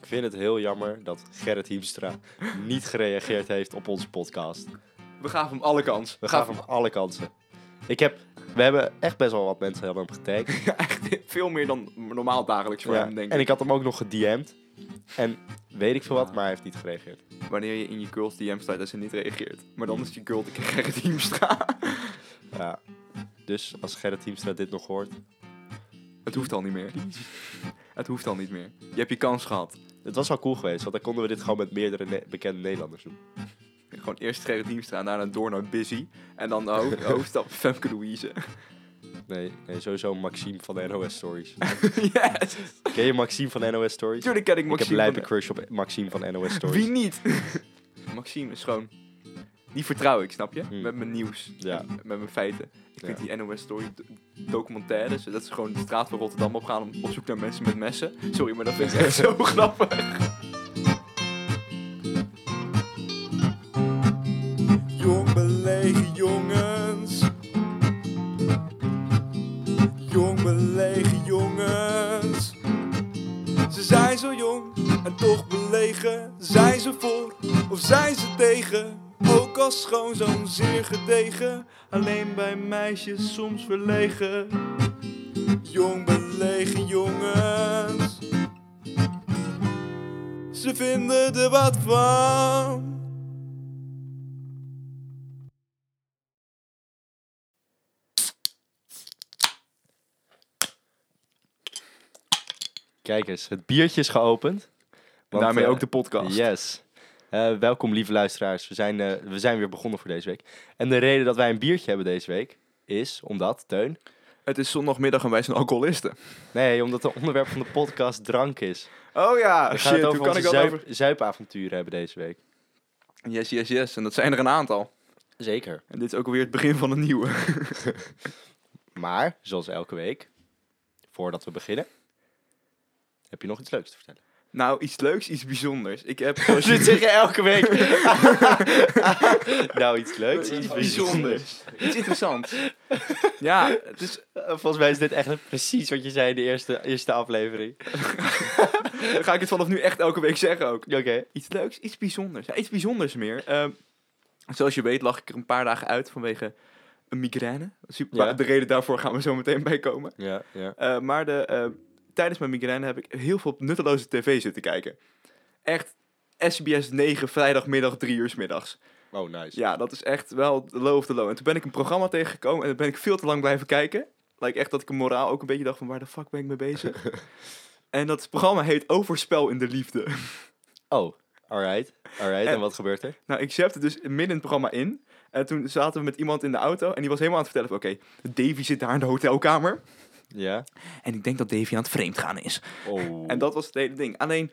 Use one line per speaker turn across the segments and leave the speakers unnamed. vind het heel jammer dat Gerrit Hiemstra niet gereageerd heeft op onze podcast.
We gaven hem alle kans.
We gaven hem alle kansen. Ik heb, we hebben echt best wel wat mensen hebben hem getagd.
echt veel meer dan normaal dagelijks voor
Ja,
hem, denk ik.
En ik had hem ook nog gedM'd. En weet ik veel wat,
Ja.
maar hij heeft niet gereageerd.
Wanneer je in je girls DM staat en ze niet reageert. Maar
Mm.
dan is je girl de keer Gerrit Hiemstra.
Ja. Dus als Gerrit Hiemstra dit nog hoort.
Het hoeft al niet meer. Het hoeft al niet meer. Je hebt je kans gehad.
Het was wel cool geweest, want dan konden we dit gewoon met meerdere ne- bekende Nederlanders doen.
Gewoon eerst Gerrit Hiemstra, daarna door naar Busy. En dan de ho- hoofdstap Femke Louise.
Nee, nee sowieso Maxime van de NOS Stories.
yes!
Ken je Maxime van NOS Stories?
Tuurlijk ken ik
Ik heb
Maxime.
lijpe
van
crush op Maxime van NOS
de-
Stories.
Wie niet? Maxime is gewoon... Die vertrouw ik, snap je?
Hmm.
Met mijn nieuws.
Ja.
Met mijn feiten. Ik
Ja.
vind die NOS Story do- documentaires... Dat ze gewoon de straat van Rotterdam opgaan om op zoek naar mensen met messen. Sorry, maar dat vind ik echt zo grappig.
Jong belegen jongens. Jong belegen jongens. Ze zijn zo jong en toch belegen. Zijn ze voor of zijn ze tegen? Ook als schoonzoon zeer gedegen. Alleen bij meisjes soms verlegen. Jong belegen jongens. Ze vinden er wat van.
Kijk eens, het biertje is geopend. Want,
Daarmee
eh,
ook de podcast.
Yes. Eh, welkom lieve luisteraars, we zijn, eh, we zijn weer begonnen voor deze week. En de reden dat wij een biertje hebben deze week is omdat, Teun...
Het is zondagmiddag en wij zijn alcoholisten.
Nee, omdat het onderwerp van de podcast drank is.
Oh ja,
We gaan
shit,
het
hoe
over
kan
onze
ik dat
zuip,
over...
zuipavonturen hebben deze week.
Yes, yes, yes. En dat zijn er een aantal.
Zeker.
En dit is ook alweer het begin van een nieuwe.
Maar, zoals elke week, voordat we beginnen, heb je nog iets leuks te vertellen.
Nou, iets leuks, iets bijzonders. Ik heb... zoals je-
zeggen elke week. nou, iets leuks, iets bijzonders.
Iets interessants. ja, het is,
Eh, Volgens mij is dit echt precies wat je zei in de eerste, eerste aflevering.
ga ik het vanaf nu echt elke week zeggen ook.
Oké.
Iets leuks, iets bijzonders. Ja, iets bijzonders meer. Ehm, zoals je weet lag ik er een paar dagen uit vanwege een migraine. Super,
Ja.
maar De reden daarvoor gaan we zo meteen bij komen.
Ja, ja.
Eh, maar de, eh, tijdens mijn migraine heb ik heel veel nutteloze tv zitten kijken. Echt SBS 9, vrijdagmiddag, drie uur 's middags.
Oh, nice.
Ja, dat is echt wel de low of the low. En toen ben ik een programma tegengekomen en dan ben ik veel te lang blijven kijken. Lijkt echt dat ik een moraal ook een beetje dacht van waar de fuck ben ik mee bezig. en dat programma heet Overspel in de Liefde.
Oh, alright. Alright, en,
En-
wat gebeurt er?
nou, ik zette dus midden in het programma in. En toen zaten we met iemand in de auto en die was helemaal aan het vertellen van oké, Davy zit daar in de hotelkamer.
Ja.
En ik denk dat Davy aan het vreemd gaan is.
Oh.
En dat was het hele ding. Alleen,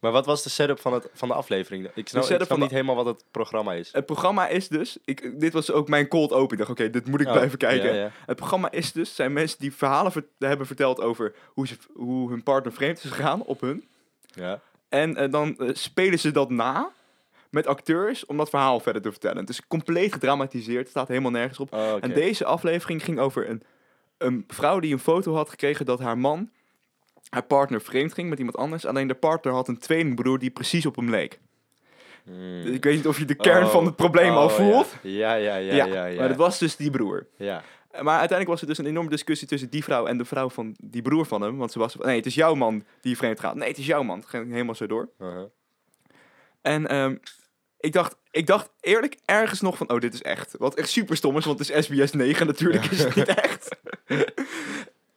Maar wat was de setup van, het, van de aflevering? Ik snap, ik
setup
snap
van de-
niet helemaal wat het programma is.
het programma is dus, ik, dit was ook mijn cold open. Ik dacht oké, dit moet ik
Oh,
blijven kijken.
ja, ja.
Het programma is dus, zijn mensen die verhalen vert- hebben verteld over hoe, ze, hoe hun partner vreemd is gegaan op hun.
Ja.
En eh, dan eh, spelen ze dat na met acteurs om dat verhaal verder te vertellen. Het is compleet gedramatiseerd, staat helemaal nergens op.
Oh, oké.
En deze aflevering ging over een, een vrouw die een foto had gekregen dat haar man, haar partner vreemd ging met iemand anders. Alleen de partner had een tweelingbroer die precies op hem leek.
Hmm.
Dus ik weet niet of je de kern
Oh.
van het probleem al
Oh, ja.
voelt.
Ja, ja, ja, ja. ja, ja.
maar het was dus die broer.
Ja.
Maar uiteindelijk was er dus een enorme discussie tussen die vrouw en de vrouw van die broer van hem. Want ze was nee, het is jouw man die vreemd gaat. Nee, het is jouw man. Het ging helemaal zo door.
Uh-huh.
En ehm, ik, dacht, ik dacht eerlijk ergens nog van, oh, dit is echt. Wat echt super stom is, want het is SBS 9. Natuurlijk is het niet echt.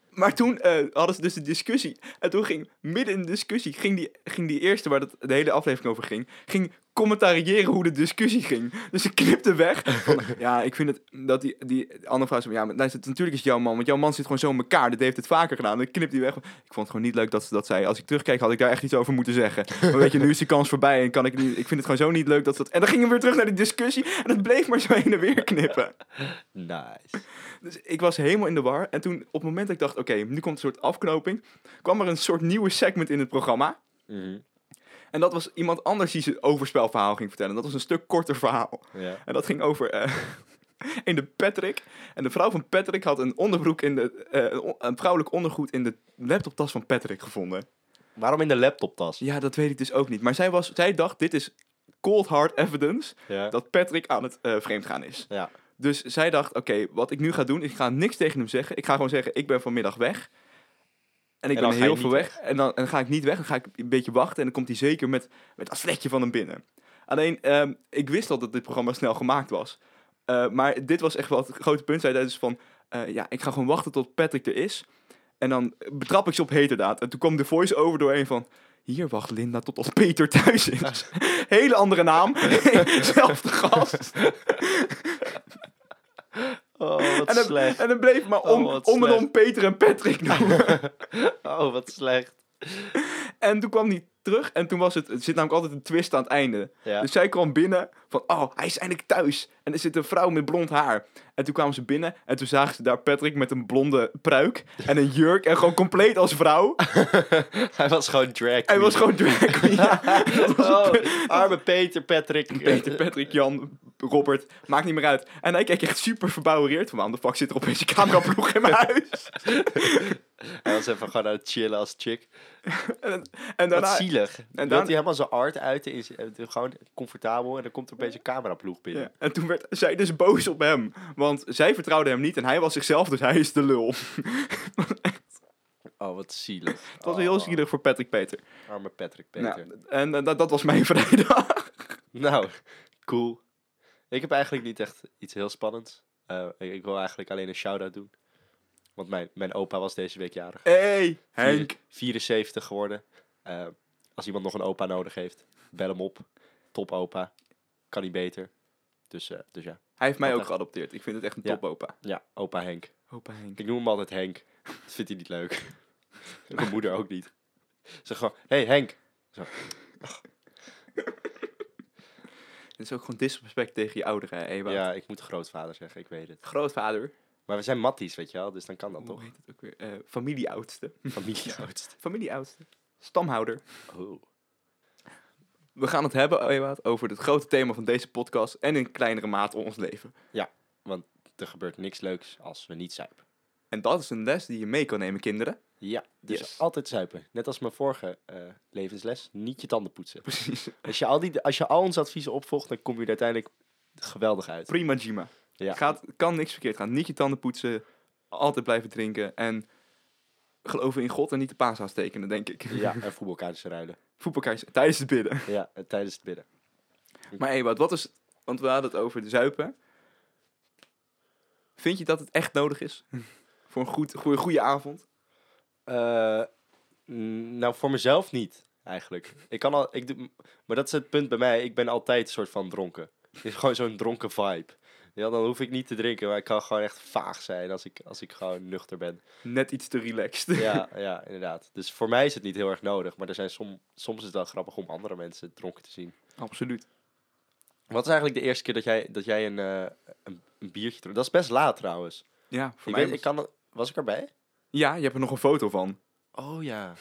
maar toen eh, hadden ze dus de discussie. En toen ging midden in de discussie, ging die, ging die eerste waar dat, de hele aflevering over ging, ging commentariëren hoe de discussie ging. Dus ze knipte weg. Van, ja, ik vind het, dat die, die andere vrouw zei, van, ja, maar luister, natuurlijk is het jouw man, want jouw man zit gewoon zo in elkaar. Dit heeft het vaker gedaan. Dan knipt hij weg. Ik vond het gewoon niet leuk dat ze dat zei. Als ik terugkijk, had ik daar echt iets over moeten zeggen. Maar weet je, nu is die kans voorbij en kan ik niet, ik vind het gewoon zo niet leuk dat ze dat... En dan gingen we weer terug naar die discussie en het bleef maar zo heen en weer knippen.
Nice.
Dus ik was helemaal in de war. En toen, op het moment dat ik dacht, oké, nu komt een soort afknoping, kwam er een soort nieuwe segment in het programma.
Mhm.
En dat was iemand anders die zijn overspelverhaal ging vertellen. Dat was een stuk korter verhaal.
Ja.
En dat ging over eh, in de Patrick. En de vrouw van Patrick had een onderbroek in de. eh, een on- een vrouwelijk ondergoed in de laptoptas van Patrick gevonden.
Waarom in de laptoptas?
Ja, dat weet ik dus ook niet. Maar zij, was, zij dacht, dit is cold hard evidence
Ja.
dat Patrick aan het eh vreemdgaan is.
Ja.
Dus zij dacht, oké, wat ik nu ga doen, is ik ga niks tegen hem zeggen. Ik ga gewoon zeggen, ik ben vanmiddag weg. En ik
En dan
ben
ga je
heel
niet
veel weg. En, dan, en dan ga ik niet weg, dan ga ik een beetje wachten. En dan komt hij zeker met, met dat vlekje van hem binnen. Alleen, ehm, ik wist al dat dit programma snel gemaakt was. Eh, maar dit was echt wel het grote punt. Zij zei dus van, eh, ja, ik ga gewoon wachten tot Patrick er is. En dan betrap ik ze op heterdaad. En toen kwam de voice-over doorheen van... Hier wacht Linda totdat Peter thuis is. Hele andere naam. Zelfde gast.
Oh, wat
En dan,
slecht.
en dan bleef maar om,
Oh, wat
om en
slecht.
om Peter en Patrick noemen.
Oh, wat slecht.
en toen kwam hij terug en toen was het... Er zit namelijk altijd een twist aan het einde.
Ja.
Dus zij kwam binnen van... Oh, hij is eindelijk thuis. En er zit een vrouw met blond haar. En toen kwamen ze binnen en toen zagen ze daar Patrick met een blonde pruik. En een jurk en gewoon compleet als vrouw.
Hij was gewoon drag.
Hij was gewoon drag queen. Ja, dat was het
Oh,
punt.
arme Peter, Patrick.
Peter, Patrick, Jan, Robert, maakt niet meer uit. En hij keek echt super verbouwereerd van waarom de fuck zit er opeens een cameraploeg in mijn huis?
Hij was even gewoon aan het chillen als chick.
En, en
Wat
daarna...
zielig. En dan...
daarna-
hij helemaal zijn art uiten, is eh, gewoon comfortabel en dan komt er opeens een cameraploeg binnen.
Ja, en toen werd zij dus boos op hem. Want zij vertrouwde hem niet en hij was zichzelf, dus hij is de lul.
Oh, wat zielig. Oh,
Dat was heel zielig voor Patrick Peter.
Arme Patrick, Peter.
Nou, en eh, dat- dat was mijn vrijdag.
Nou, cool. Ik heb eigenlijk niet echt iets heel spannends. Eh, ik, ik wil eigenlijk alleen een shout-out doen. Want mijn, mijn opa was deze week jarig.
Hey, Henk.
74 geworden. Eh, als iemand nog een opa nodig heeft, bel hem op. Top opa. Kan niet beter. Dus, eh, dus ja.
Hij heeft mij
Opa.
ook geadopteerd. Ik vind het echt een
Ja.
topopa.
Ja, opa Henk.
Opa Henk.
Ik noem hem altijd Henk. Dat vindt hij niet leuk. Mijn moeder ook niet. Zeg gewoon, hé hey, Henk.
Het is ook gewoon disrespect tegen je ouderen, hè, Ewout.
Ja, ik moet grootvader zeggen, ik weet het.
Grootvader.
Maar we zijn matties, weet je wel, dus dan kan dat
Hoe
toch?
heet het ook weer? Eh, familieoudste.
Familieoudst.
Familieoudste. Stamhouder.
Oh.
We gaan het hebben, Ewout, over het grote thema van deze podcast en in kleinere mate ons leven.
Er gebeurt niks leuks als we niet zuipen.
En dat is een les die je mee kan nemen, kinderen.
Ja, dus
Yes.
altijd zuipen. Net als mijn vorige eh, levensles, niet je tanden poetsen.
Precies.
Als je, al die, als je al onze adviezen opvolgt, dan kom je er uiteindelijk geweldig uit.
Prima, Jima.
Ja.
Gaat, kan niks verkeerd gaan. Niet je tanden poetsen, altijd blijven drinken en geloven in God en niet de paashaas tekenen, denk ik.
Ja, en voetbalkaartjes ruilen.
Voetbalkaars tijdens het bidden.
Ja, en tijdens het bidden.
Maar Ewout, wat is... Want we hadden het over de zuipen. Vind je dat het echt nodig is? Voor een goed, goede, goede avond?
Eh, mm, nou, voor mezelf niet, eigenlijk. Ik kan al, ik doe, maar dat is het punt bij mij. Ik ben altijd een soort van dronken. Het is gewoon zo'n dronken vibe. Ja, dan hoef ik niet te drinken, maar ik kan gewoon echt vaag zijn als ik, als ik gewoon nuchter ben.
Net iets te relaxed.
Ja, ja, inderdaad. Dus voor mij is het niet heel erg nodig, maar er zijn som, soms is het wel grappig om andere mensen dronken te zien.
Absoluut.
Wat is eigenlijk de eerste keer dat jij, dat jij een, eh, een, een biertje dronk? Dat is best laat trouwens.
Ja, voor
Ik
mij
weet,
was-
ik kan, was ik erbij?
Ja, je hebt er nog een foto van.
Oh ja.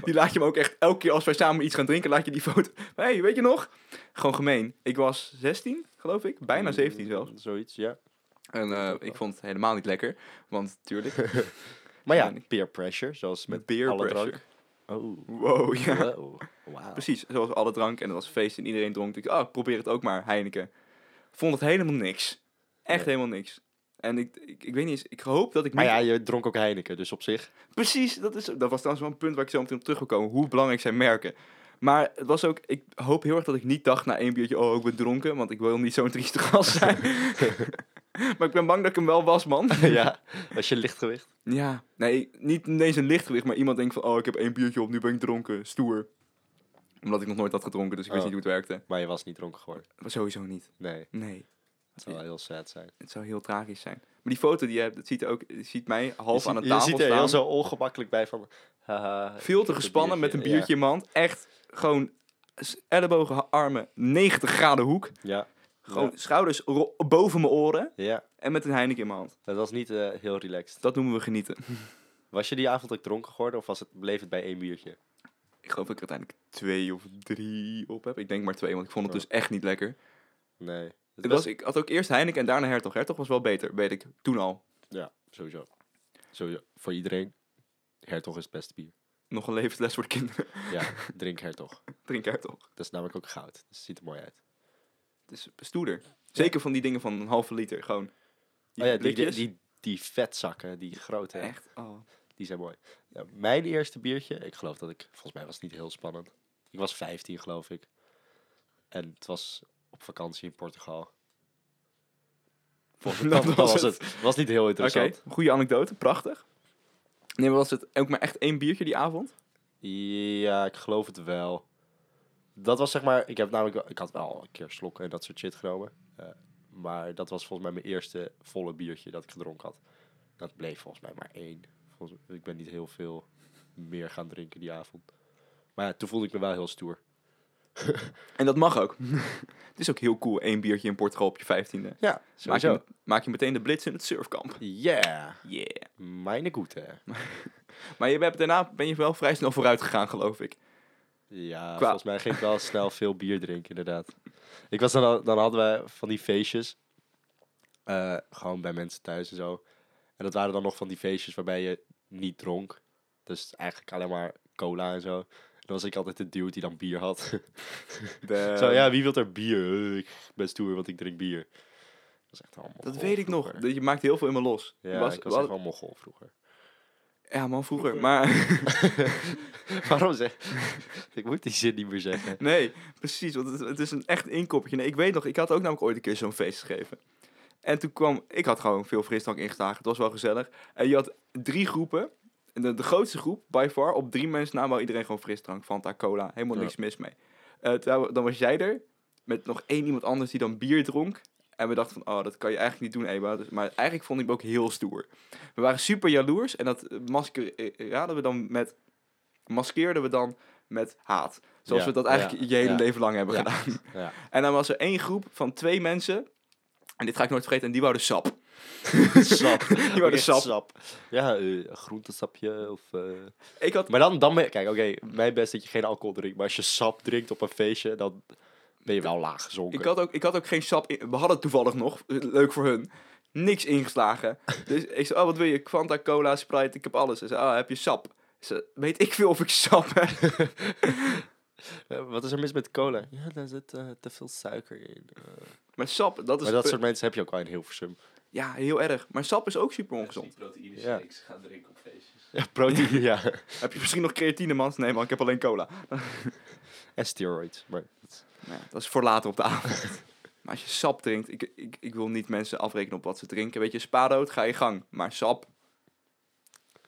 Die laat je hem ook echt elke keer als wij samen iets gaan drinken, laat je die foto. hey, weet je nog? Gewoon gemeen. Ik was 16, geloof ik. Bijna 17 zelfs.
Hmm, Zoiets, ja.
En eh, ik vond het helemaal niet lekker. Want tuurlijk.
Maar ja,
Weet ik.
peer pressure, zoals met
Beer
alle
pressure.
drank. Oh,
Wow, ja.
wow. Wauw.
Precies, zoals alle drank. En dat was feest en iedereen dronk. Ik, oh, ik probeer het ook maar, Heineken. Vond het helemaal niks. Echt
Nee.
helemaal niks. En ik, ik, ik weet niet eens, ik hoop dat ik
Maar
niet...
ja, je dronk ook Heineken, dus op zich.
Precies, dat, is, dat was trouwens wel een punt waar ik zo meteen op terug wil komen. Hoe belangrijk zijn merken. Maar het was ook, ik hoop heel erg dat ik niet dacht na één biertje, oh ik ben dronken, want ik wil niet zo'n trieste gast zijn. maar ik ben bang dat ik hem wel was, man.
ja, was je lichtgewicht.
Ja, nee, niet ineens een lichtgewicht, maar iemand denkt van, oh ik heb één biertje op, nu ben ik dronken, stoer. Omdat ik nog nooit had gedronken, dus ik wist
Oh.
niet hoe het werkte.
Maar je was niet dronken geworden.
Maar sowieso niet.
Nee,
Nee,
het zou wel heel sad zijn.
het zou heel tragisch zijn. Maar die foto die je hebt, dat ziet, ook, je ziet mij half
je
aan de
ziet-
tafel
Je ziet er
staan.
heel zo ongemakkelijk bij van... haha,
Veel te
een
gespannen met
biertje,
een biertje in mijn hand. Echt gewoon s- ellebogen, ha- armen, 90 graden hoek.
Ja,
Gewoon schouders ro- boven mijn oren.
ja, ja.
En met een Heineken in mijn hand.
dat was niet eh, heel relaxed.
Dat noemen we genieten.
Was je die avond ook dronken geworden of was het, bleef het bij één biertje?
Ik geloof dat ik er uiteindelijk twee of drie op heb. Ik denk maar twee, want ik vond het dus echt niet lekker.
Nee. Het
Het was, Dus ik had ook eerst Heineken en daarna Hertog. Hertog was wel beter, weet ik. Toen al.
Ja, sowieso. Sowieso, voor iedereen. Hertog is het beste bier.
Nog een levensles voor de kinderen.
Ja, drink hertog.
Drink uit toch.
Dat is namelijk ook goud. Dat ziet er mooi uit.
Het is stoerder. Zeker van die dingen van een halve liter, gewoon.
Oh ja, die, die,
blikjes.
die, die vetzakken, die grote,
Echt? Oh.
die zijn mooi. Ja, mijn eerste biertje, ik geloof dat ik, volgens mij was het niet heel spannend. Ik was 15 geloof ik. En het was op vakantie in Portugal. Volgens mij dat, was, het. was niet heel
Oké,
interessant.
goede anekdote, prachtig. Nee, maar was het ook maar echt één biertje die avond?
Ja, ik geloof het wel. Dat was zeg maar, ik heb namelijk, wel- ik had wel een keer slokken en dat soort shit genomen. Eh, maar dat was volgens mij mijn eerste volle biertje dat ik gedronken had. Dat bleef volgens mij maar één. Volgens, ik ben niet heel veel meer gaan drinken die avond. Maar ja, toen voelde ik me wel heel stoer.
En dat mag ook. het is ook heel cool, één biertje in Portugal op je vijftiende.
Ja,
Maak je,
sowieso.
met- maak je meteen de blitz in het surfkamp.
Yeah,
Yeah.
mijn goede.
Maar je hebt, daarna ben je wel vrij snel vooruit gegaan, geloof ik.
Ja,
Qua-
volgens mij ging ik wel snel veel bier drinken, inderdaad. Ik was dan, al- dan hadden wij van die feestjes, eh, gewoon bij mensen thuis en zo. En dat waren dan nog van die feestjes waarbij je niet dronk. Dus eigenlijk alleen maar cola en zo. En dan was ik altijd de dude die dan bier had.
De-
zo, ja, wie wil er bier? Eh, ik ben stoer, want ik drink bier. Dat, is echt allemaal
Dat weet ik nog. Dat- Je maakt heel veel in me los.
Ja,
Was-
ik was
wa-
echt wel moggol vroeger.
ja man, vroeger. Maar
Waarom zeg... ik moet die zin niet meer zeggen.
nee, precies. Want het, het is een echt inkoppertje. Nee, ik weet nog, ik had ook namelijk ooit een keer zo'n feest gegeven. En toen kwam... Ik had gewoon veel frisdrank ingeslagen. Het was wel gezellig. En je had drie groepen. En de, de grootste groep, by far, op drie mensen na wou iedereen gewoon frisdrank. Fanta, cola. Helemaal
Ja.
niks mis mee. Eh, terwijl- dan was jij er met nog één iemand anders die dan bier dronk. En we dachten van, oh, dat kan je eigenlijk niet doen, Eva. Dus, maar eigenlijk vond ik me ook heel stoer. We waren super jaloers en dat eh, masker eh, raden we dan met... Maskeerden we dan met haat. Zoals
Ja,
we dat eigenlijk
ja,
je hele
ja.
leven lang hebben
Ja.
gedaan.
Ja.
En dan was er één groep van twee mensen... En dit ga ik nooit vergeten, en die wouden sap.
sap.
Die wouden
Echt
sap.
Ja, eh, groentesapje of... eh,
Ik had
Maar dan, dan ben- kijk, oké, mijn best dat je geen alcohol drinkt, maar als je sap drinkt op een feestje, dan ben je wel laag gezonken.
Ik had, ook, ik had ook geen sap. in- we hadden het toevallig nog, leuk voor hun, niks ingeslagen. Dus ik zei, oh, wat wil je? Quanta, cola, Sprite, ik heb alles. Ze zei, ah, heb je sap? Ze, weet ik veel of ik sap heb?
Eh, wat is er mis met cola? Ja, daar zit eh, te veel suiker in. Eh,
Maar sap, dat is...
maar dat
het
soort
punt.
mensen heb je ook wel in Hilversum.
Ja, heel erg. Maar sap is ook super ongezond.
proteïne
Ja.
shakes gaan drinken op feestjes.
Ja, proteïne, ja.
Heb je misschien nog creatine, man? Nee, man, ik heb alleen cola.
En steroids. Maar
Nou ja, dat is voor later op de avond. maar als je sap drinkt, ik, ik, ik wil niet mensen afrekenen op wat ze drinken. Weet je, spaardood, ga je gang. Maar sap...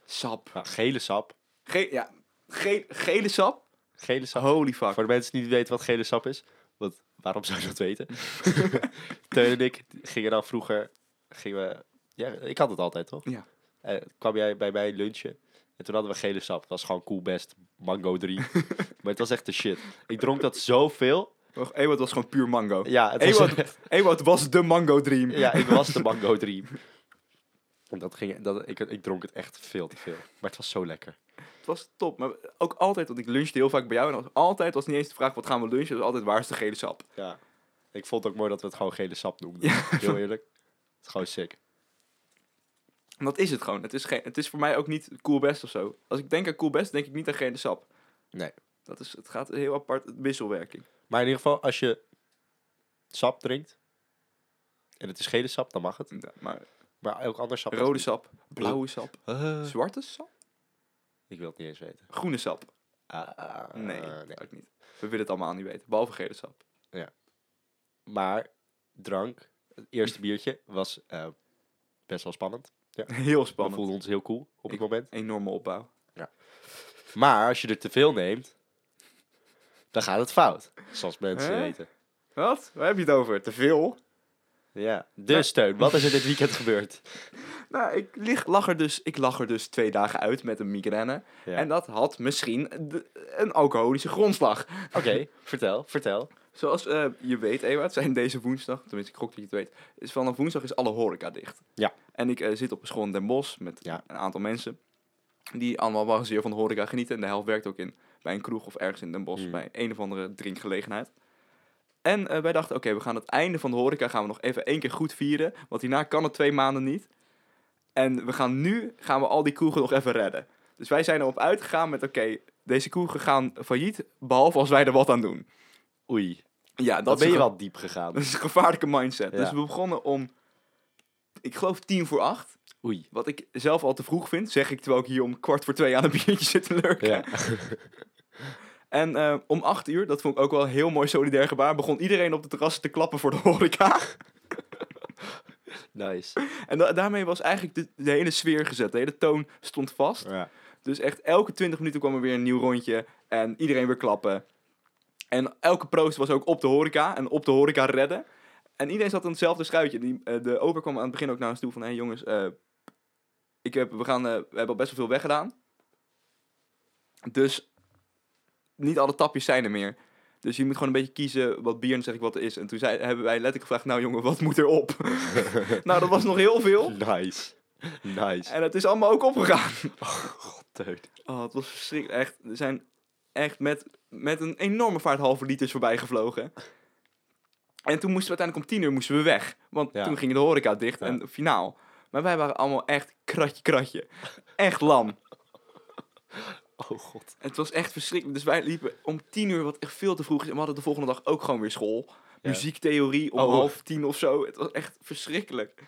Sap.
nou, gele sap.
Ge ja, ge gele sap?
Gele sap.
Holy fuck.
Voor de mensen die niet weten wat gele sap is, want waarom zou je dat weten? Teun en ik gingen dan vroeger, gingen we, ja, ik had het altijd toch?
Ja.
Eh, kwam jij bij mij lunchen en toen hadden we gele sap. Dat was gewoon cool best, mango 3. maar het was echt de shit. Ik dronk dat zoveel.
Och, Ewout was gewoon puur mango.
Ja, het was
Ewout, Ewout was de mango dream.
ja, ik was de mango 3. En dat ging, dat, ik, ik dronk het echt veel te veel. Maar het was zo lekker.
Het was top. Maar ook altijd, want ik lunchte heel vaak bij jou. En als- altijd was niet eens de vraag, wat gaan we lunchen? Het was altijd, waar is de gele sap?
Ja. Ik vond het ook mooi dat we het gewoon gele sap noemden. Heel eerlijk. Het is gewoon sick.
En dat is het gewoon. Het is, geen, het is voor mij ook niet cool best of zo. Als ik denk aan cool best, denk ik niet aan gele sap.
Nee.
Dat is, het gaat heel apart, het wisselwerking.
Maar in ieder geval, als je sap drinkt, en het is gele sap, dan mag het.
Ja, maar
Maar elk ander sap.
rode sap, blauwe
Blauwe
sap,
Eh,
zwarte sap,
ik wil het niet eens weten.
groene sap.
Ah,
Nee,
nee.
ook niet. We willen het allemaal niet weten, behalve gele sap.
Maar drank, het eerste biertje, was eh, best wel spannend.
Heel
We
spannend.
voelden ons heel cool op het
Ik-
moment.
Enorme opbouw.
Maar als je er te veel neemt, dan gaat het fout. Zoals mensen
Hè?
weten.
Wat? Waar heb je het over? Te veel?
Ja. Dus Teun, wat is er dit weekend gebeurd?
Nou, ik lig, lag er dus, ik lag er dus twee dagen uit met een migraine.
Ja.
En dat had misschien de- een alcoholische grondslag.
Oké, vertel, vertel.
Zoals eh, je weet, Ewout, zijn deze woensdag, tenminste ik gok dat je het weet, is vanaf woensdag is alle horeca dicht.
Ja.
En ik eh, zit op een school in Den Bosch met
Ja.
een aantal mensen die allemaal wel zeer van de horeca genieten. En de helft werkt ook in, bij een kroeg of ergens in Den Bosch
Hmm.
bij een of andere drinkgelegenheid. En eh, wij dachten, oké, we gaan het einde van de horeca gaan we nog even één keer goed vieren, want hierna kan het twee maanden niet. En we gaan nu, gaan we al die kroegen nog even redden. Dus wij zijn erop uitgegaan met, oké, deze koegen gaan failliet, behalve als wij er wat aan doen.
Oei,
Ja,
dan
is
ben je
een
wel diep gegaan.
Dat is een gevaarlijke mindset.
Ja.
Dus we begonnen om, ik geloof tien voor acht.
Oei.
Wat ik zelf al te vroeg vind, zeg ik terwijl ik hier om kwart voor twee aan een biertje zit te lurken.
Ja.
En eh, om acht uur, dat vond ik ook wel een heel mooi solidair gebaar, begon iedereen op de terrassen te klappen voor de horeca.
Nice.
En da- daarmee was eigenlijk de, de hele sfeer gezet. De hele toon stond vast.
Ja.
Dus echt elke 20 minuten kwam er weer een nieuw rondje. En iedereen weer klappen. En elke proost was ook op de horeca. En op de horeca redden. En iedereen zat in hetzelfde schuitje. Die, eh, de ober kwam aan het begin ook naar ons toe van... Hé hey jongens, eh, ik heb, we, gaan, eh, we hebben al best wel veel weggedaan. Dus niet alle tapjes zijn er meer. Dus je moet gewoon een beetje kiezen wat bier en dan zeg ik wat er is. En toen zei, hebben wij letterlijk gevraagd... Nou jongen, wat moet er op? nou, dat was nog heel veel.
Nice. Nice.
En het is allemaal ook opgegaan.
Teut.
Oh, het was verschrikkelijk. Echt, er zijn echt met, met een enorme vaart halve liters voorbij gevlogen. En toen moesten we uiteindelijk om tien uur moesten we weg. Want
Ja.
toen ging de horeca dicht
Ja.
en finaal. Maar wij waren allemaal echt kratje kratje. Echt lam.
Oh god.
Het was echt verschrikkelijk. Dus wij liepen om tien uur, wat echt veel te vroeg is. En we hadden de volgende dag ook gewoon weer school.
Ja.
Muziektheorie om
Oh.
half tien of zo. Het was echt verschrikkelijk.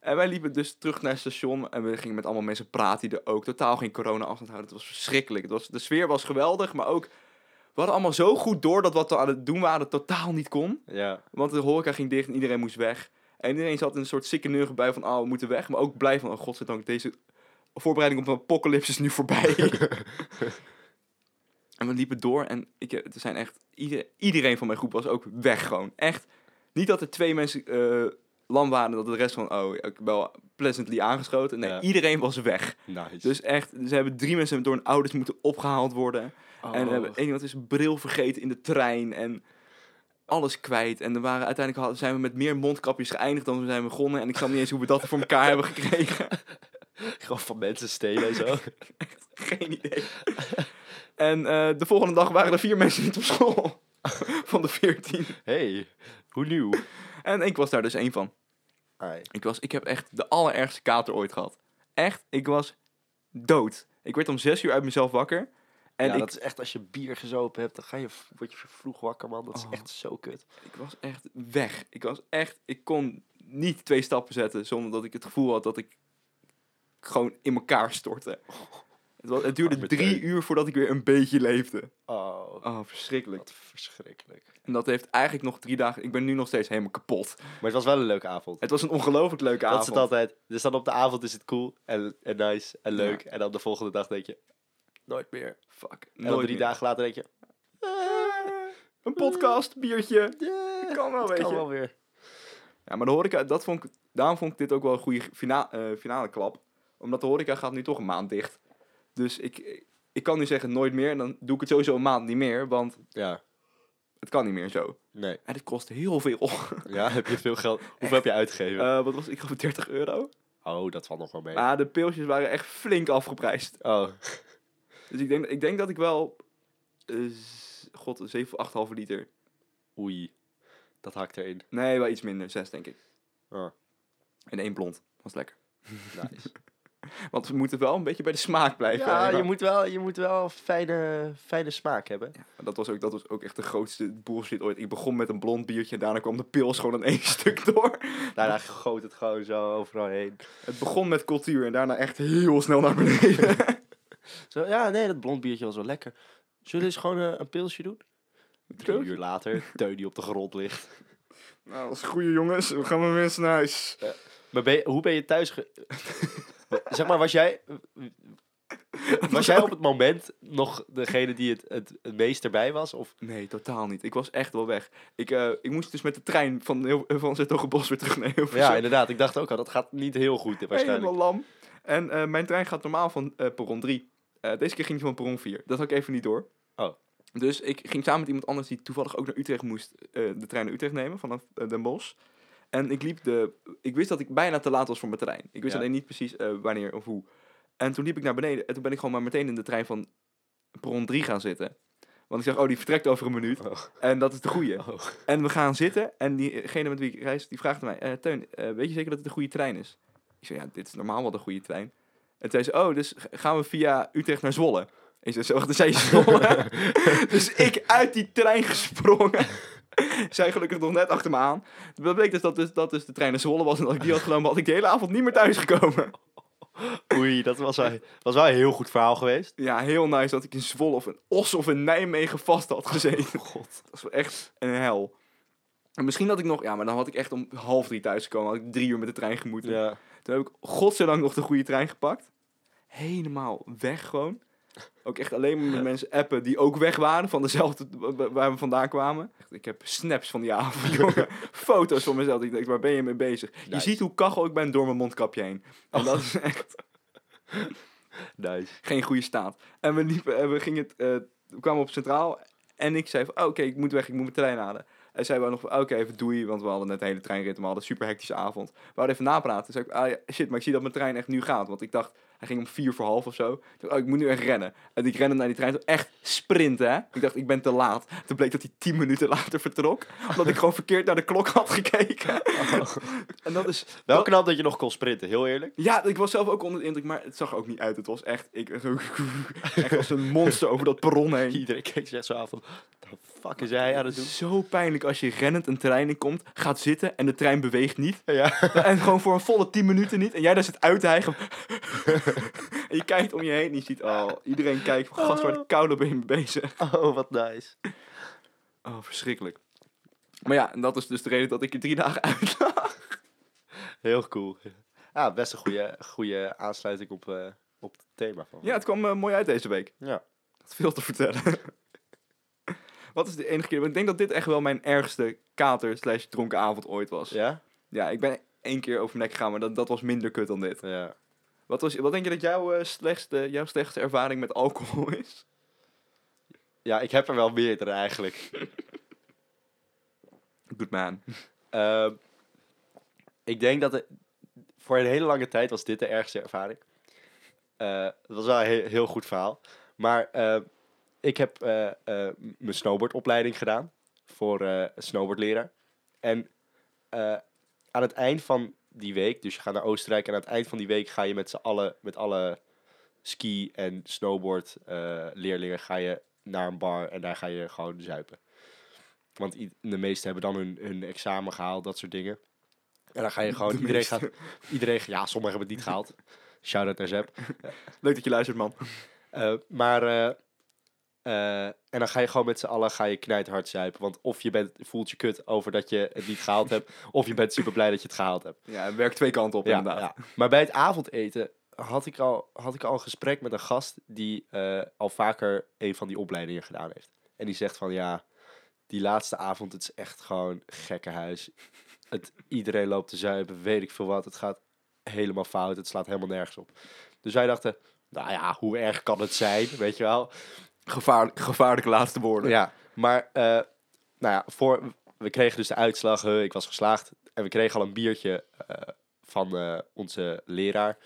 En wij liepen dus terug naar het station. En we gingen met allemaal mensen praten die er ook totaal geen corona afstand houden. Het was verschrikkelijk. Het was, de sfeer was geweldig, maar ook... We hadden allemaal zo goed door dat wat we aan het doen waren totaal niet kon.
Ja.
Want de horeca ging dicht en iedereen moest weg. En iedereen zat in een soort sikke neurige bui van... Oh, we moeten weg. Maar ook blij van... Oh, godzijdank, deze voorbereiding op een apocalypse is nu voorbij. En we liepen door en ik, eh, er zijn echt, ieder- iedereen van mijn groep was ook weg gewoon. Echt, niet dat er twee mensen eh, lam waren en dat de rest van, oh, ik ben wel pleasantly aangeschoten. Nee,
Ja.
iedereen was weg.
Nice.
Dus echt, ze hebben drie mensen door hun ouders moeten opgehaald worden.
Oh.
En er hebben, één iemand is een bril vergeten in de trein en alles kwijt. En er waren, uiteindelijk hadden- zijn we met meer mondkapjes geëindigd dan we zijn begonnen. En ik snap niet eens hoe we dat voor elkaar hebben gekregen.
Gewoon van mensen stelen en zo.
Geen idee. En eh, de volgende dag waren er vier mensen niet op school. Van de veertien.
hey, hoe nieuw?
En ik was daar dus één van. Ik, was, ik heb echt de allerergste kater ooit gehad. Echt, ik was dood. Ik werd om zes uur uit mezelf wakker. En
ja,
ik,
dat is echt als je bier gezopen hebt, dan ga je, word je vroeg wakker, man. Dat is
Oh.
echt zo kut.
ik was echt weg. Ik was echt... Ik kon niet twee stappen zetten zonder dat ik het gevoel had dat ik gewoon in elkaar stortte. Het, was, het duurde
Arme
drie
teun.
uur voordat ik weer een beetje leefde.
Oh,
Oh, verschrikkelijk.
wat verschrikkelijk.
En dat heeft eigenlijk nog drie dagen... Ik ben nu nog steeds helemaal kapot.
Maar het was wel een leuke avond.
Het was een ongelooflijk leuke
Dat is
avond.
het altijd. Dus dan op de avond is het cool en, en nice en leuk. En dan de volgende dag denk je, nooit meer. En
Fuck.
dan
Nooit
drie
meer.
dagen later denk je,
Een podcast, biertje.
yeah,
Kan wel,
het
weet
kan
je.
wel weer.
Ja, maar de horeca, dat vond ik, daarom vond ik dit ook wel een goede fina, eh, finale klap. Omdat de horeca gaat nu toch een maand dicht. Dus ik, ik kan nu zeggen nooit meer. En dan doe ik het sowieso een maand niet meer. Want
Ja,
het kan niet meer zo.
nee.
En het kost heel veel.
Ja, heb je veel geld? Hoeveel heb je uitgegeven?
Eh, wat was het? ik geloof 30 euro.
oh, dat valt nog wel mee.
Maar de pilsjes waren echt flink afgeprijsd.
oh,
Dus ik denk, ik denk dat ik wel... eh, z- God, 7 of 8 halve liter.
oei. Dat hakt erin.
Nee, wel iets minder. 6 denk ik.
Oh.
En één blond. Was lekker.
Nice.
Want we moeten wel een beetje bij de smaak blijven.
Ja,
En dan-
je moet wel, je moet wel fijne, fijne smaak hebben.
Dat was, ook, dat was ook echt de grootste bullshit ooit. Ik begon met een blond biertje en daarna kwam de pils gewoon in één stuk door.
Daarna goot het gewoon zo overal heen.
Het begon met cultuur en daarna echt heel snel naar beneden.
Zo, ja, nee, dat blond biertje was wel lekker. Zullen we eens gewoon eh, een pilsje doen? Drie
Pilsje?
uur later, Teun die op de grond ligt.
Nou, dat is goeie jongens. We gaan maar mensen naar huis.
Maar ben je- hoe ben je thuis... ge- zeg maar, was jij... Was jij op het moment nog degene die het, het, het meest erbij was? Of
Nee, totaal niet. Ik was echt wel weg. Ik, eh, ik moest dus met de trein van, heel, van Zetogenbos weer terug naar Hilversum.
Ja, inderdaad. Ik dacht ook al, dat gaat niet heel goed waarschijnlijk.
Helemaal lam. En eh, mijn trein gaat normaal van eh perron 3. Eh, deze keer ging die van perron 4. Dat had ik even niet door.
Oh.
Dus ik ging samen met iemand anders die toevallig ook naar Utrecht moest, eh, de trein naar Utrecht nemen vanaf eh, Den Bosch. En ik liep de. Ik wist dat ik bijna te laat was voor mijn trein. Ik wist
Ja.
alleen niet precies eh, wanneer of hoe. En toen liep ik naar beneden en toen ben ik gewoon maar meteen in de trein van perron 3 gaan zitten. Want ik zag, oh, die vertrekt over een minuut.
Oh.
En dat is de goeie.
Oh.
En we gaan zitten. En diegene met wie ik reis, die vraagt aan mij... eh Teun, eh, weet je zeker dat het de goede trein is? Ik zei, ja, dit is normaal wel de goede trein. En toen zei ze, oh, dus g- gaan we via Utrecht naar Zwolle. En ze zei, zo, dan zei je Zwolle. dus ik uit die trein gesprongen. Zij gelukkig nog net achter me aan. Dat bleek dus dat, dus dat dus de trein naar Zwolle was. En dat ik die had genomen, had ik de hele avond niet meer thuis gekomen.
Oei, dat was wel, was wel een heel goed verhaal geweest.
Ja, heel nice dat ik in Zwolle of een Os of in Nijmegen vast had gezeten.
God.
Dat was wel echt een hel. En misschien dat ik nog... Ja, maar dan had ik echt om half drie thuis gekomen. Had ik drie uur met de trein gemoeten.
Ja.
Toen heb ik godzijdank nog de goede trein gepakt. Helemaal weg gewoon. Ook echt alleen maar met mensen appen die ook weg waren van dezelfde wa- wa- waar we vandaan kwamen. Echt, Ik heb snaps van die avond, jongen. Foto's van mezelf. Ik denk, waar ben je mee bezig? Je
Nice. Oh.
ziet hoe kachel ik ben door mijn mondkapje heen. En dat is echt
Nice.
geen goede staat. En we, liepen, en we, gingen het, eh, we kwamen op Centraal en ik zei van, oh, oké, ik moet weg, ik moet mijn trein halen. En zij wou nog van, oké, even doei, want we hadden net de hele treinrit, we hadden een super hectische avond. We hadden even napraten. Toen zei ik, ah, ja, shit, maar ik zie dat mijn trein echt nu gaat. Want ik dacht, hij ging om vier voor half of zo. Ik dacht, oh, ik moet nu echt rennen. En ik rende naar die trein, toe, echt sprinten, hè. Ik dacht, ik ben te laat. Toen bleek dat hij tien minuten later vertrok, omdat ik gewoon verkeerd naar de klok had gekeken. En dat is...
Wel knap dat je nog kon sprinten, heel eerlijk.
Ja, ik was zelf ook onder de indruk, maar het zag er ook niet uit. Het was echt, ik echt als een monster over dat perron heen.
Iedereen keek zich echt zo aan van, "What the fuck is hij aan het doen?
Zo pijnlijk als je rennend een trein in komt, gaat zitten en de trein beweegt niet.
Ja.
En gewoon voor een volle 10 minuten niet. En jij daar zit uit te hijgen. En je kijkt om je heen en je ziet, oh, iedereen kijkt van, gast, waar de koude ben je mee bezig.
Oh, wat nice.
Oh, verschrikkelijk. Maar ja, en dat is dus de reden dat ik er drie dagen uit lag.
Heel cool. Ja, Ah, best een goede, goede aansluiting op, eh, op het thema van.
Ja, het kwam eh, mooi uit deze week.
ja.
had veel te vertellen. Wat is de enige keer? want Ik denk dat dit echt wel mijn ergste kater slash dronken avond ooit was. Ja,
Ja?
ik ben één keer over mijn nek gegaan, maar dat, dat was minder kut dan dit.
Ja.
Wat, was, wat denk je dat jouw, eh, slechtste, jouw slechtste ervaring met alcohol is?
Ja, ik heb er wel meerdere eigenlijk.
Good man.
Ehm, ik denk dat het- voor een hele lange tijd was dit de ergste ervaring. Eh, het was wel een he- heel goed verhaal. Maar eh, ik heb eh, eh, m- mijn snowboardopleiding gedaan voor eh snowboardleraar. En eh, aan het eind van die week, dus je gaat naar Oostenrijk... en aan het eind van die week ga je met z'n allen, met alle ski- en snowboard eh, leerlingen... ga je naar een bar en daar ga je gewoon zuipen. Want i- de meesten hebben dan hun, hun examen gehaald, dat soort dingen. En dan ga je gewoon...
De
Iedereen
meesten.
gaat, iedereen, ja, sommigen hebben het niet gehaald. Shout-out naar Zep.
Leuk dat je luistert, man.
Eh, maar, eh, eh, en dan ga je gewoon met z'n allen ga je knijthard zuipen. Want of je bent, voelt je kut over dat je het niet gehaald hebt, of je bent super blij dat je het gehaald hebt.
Ja, het werkt twee kanten op, inderdaad.
ja. Maar bij het avondeten had ik, al, had ik al een gesprek met een gast die eh, al vaker een van die opleidingen gedaan heeft. En die zegt van ja, die laatste avond, het is echt gewoon gekkenhuis. Het, iedereen loopt te zuipen, weet ik veel wat. Het gaat helemaal fout, het slaat helemaal nergens op. Dus wij dachten, nou ja, hoe erg kan het zijn, weet je wel.
Gevaarlijk, gevaarlijke laatste woorden.
Ja, maar eh, nou ja, voor, we kregen dus de uitslag. eh, ik was geslaagd. En we kregen al een biertje eh, van eh, onze leraar.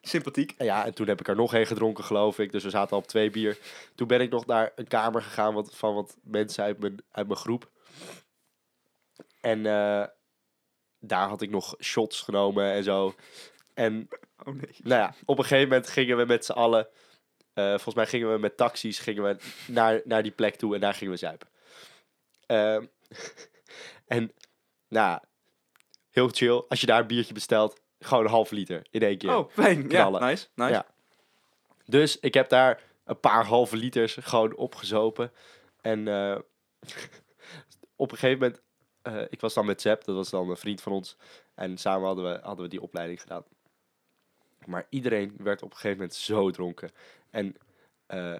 Sympathiek.
En ja, en toen heb ik er nog één gedronken, geloof ik. Dus we zaten al op twee bier. Toen ben ik nog naar een kamer gegaan wat, van wat mensen uit mijn, uit mijn groep. En eh, daar had ik nog shots genomen en zo. En
Oh nee.
nou ja, op een gegeven moment gingen we met z'n allen... eh, volgens mij gingen we met taxis gingen we naar, naar die plek toe en daar gingen we zuipen. Ehm, en nou, heel chill. Als je daar een biertje bestelt, gewoon een half liter in één keer.
Oh, fijn. Ja,
Knallen.
nice. nice.
Ja. Dus ik heb daar een paar halve liters gewoon opgezopen. En eh, op een gegeven moment, eh, ik was dan met Zep, dat was dan een vriend van ons. En samen hadden we, hadden we die opleiding gedaan. Maar iedereen werd op een gegeven moment zo dronken. En eh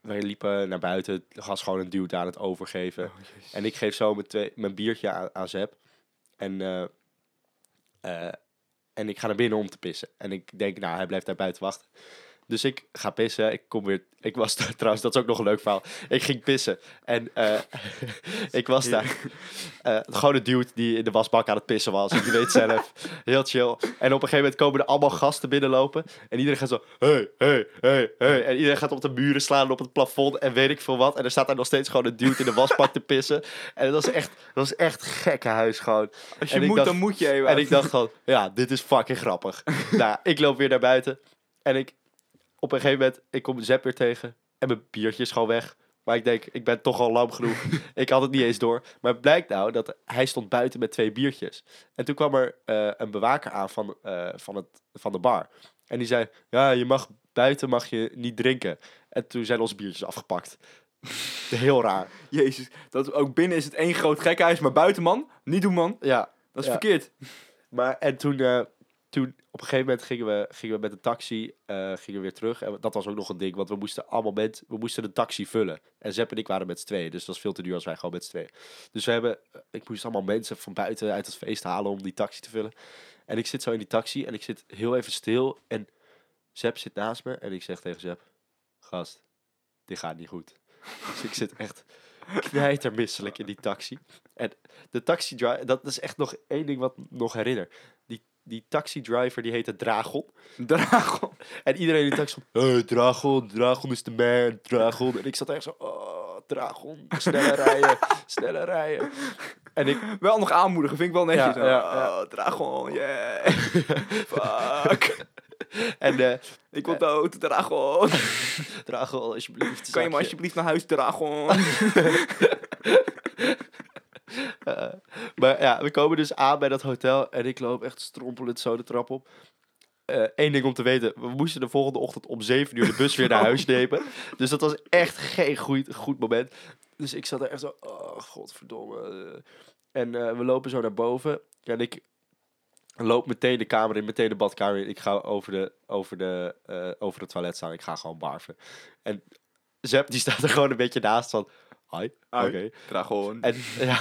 wij liepen naar buiten, het was gewoon een duwt aan het overgeven.
Oh, jezus.
En ik geef zo mijn, twee, mijn biertje aan, aan Zep. En, eh, eh, en ik ga naar binnen om te pissen. En ik denk, nou, hij blijft daar buiten wachten. Dus ik ga pissen. Ik kom weer. Ik was daar trouwens, dat is ook nog een leuk verhaal. Ik ging pissen. En eh, ik was daar. eh gewoon een dude die in de wasbak aan het pissen was. Ik weet het zelf. Heel chill. En op een gegeven moment komen er allemaal gasten binnenlopen. En iedereen gaat zo. Hey, hey, hey, hey. En iedereen gaat op de muren slaan en op het plafond. En weet ik veel wat. En er staat daar nog steeds gewoon een dude in de wasbak te pissen. En dat was echt, dat was echt gekke huis gewoon.
Als je eh,
En ik
moet,
dacht-
dan moet je even.
En ik dacht gewoon, ja, dit is fucking grappig. nou, ik loop weer naar buiten. En ik, op een gegeven moment, ik kom Zep weer tegen. En mijn biertje is gewoon weg. Maar ik denk, ik ben toch al lam genoeg. ik had het niet eens door. Maar het blijkt nou dat hij stond buiten met twee biertjes. En toen kwam er eh, een bewaker aan van, eh, van, het, van de bar. En die zei, ja, je mag buiten mag je niet drinken. En toen zijn onze biertjes afgepakt. Heel raar.
Jezus, dat ook binnen is het één groot gekhuis, maar buiten man, niet doen man,
Ja,
dat
Ja.
is verkeerd.
Maar en toen, eh, toen op een gegeven moment gingen we, gingen we met de taxi eh, gingen we weer terug. En dat was ook nog een ding, want we moesten allemaal met, we moesten de taxi vullen. En Zepp en ik waren met z'n tweeën, dus dat was veel te duur als wij gewoon met z'n tweeën. Dus we hebben, ik moest allemaal mensen van buiten uit het feest halen om die taxi te vullen. En ik zit zo in die taxi en ik zit heel even stil. En Zep zit naast me en ik zeg tegen Zep, gast, dit gaat niet goed. Dus ik zit echt knijtermisselijk in die taxi. En de taxi driver, dat is echt nog één ding wat ik nog herinner. Die, die taxi driver die heette Dragon.
Dragon.
En iedereen in de taxi van, hey, Dragon, Dragon is de man, Dragon. En ik zat echt zo, oh, Dragon, sneller rijden, sneller rijden. En ik,
Wel nog aanmoedigen, vind ik wel netjes.
Ja,
hoor.
ja, ja.
Oh, Dragon, yeah. Fuck.
en eh,
Ik wil dood, Dragon.
Dragon, alsjeblieft,
Kan je me
zakje."
alsjeblieft naar huis, Dragon?
Eh, maar ja, we komen dus aan bij dat hotel en ik loop echt strompelend zo de trap op. Eén ding om te weten, we moesten de volgende ochtend om 7 uur de bus weer naar huis nemen. Dus dat was echt geen goed, goed moment. Dus ik zat er echt zo, oh godverdomme. En eh, we lopen zo naar boven. En ik loop meteen de kamer in, meteen de badkamer in. Ik ga over, de, over, de, eh, over het toilet staan, ik ga gewoon barven. En Zep die staat er gewoon een beetje naast van, hi, oké.
Hi. Dragon.
En ja...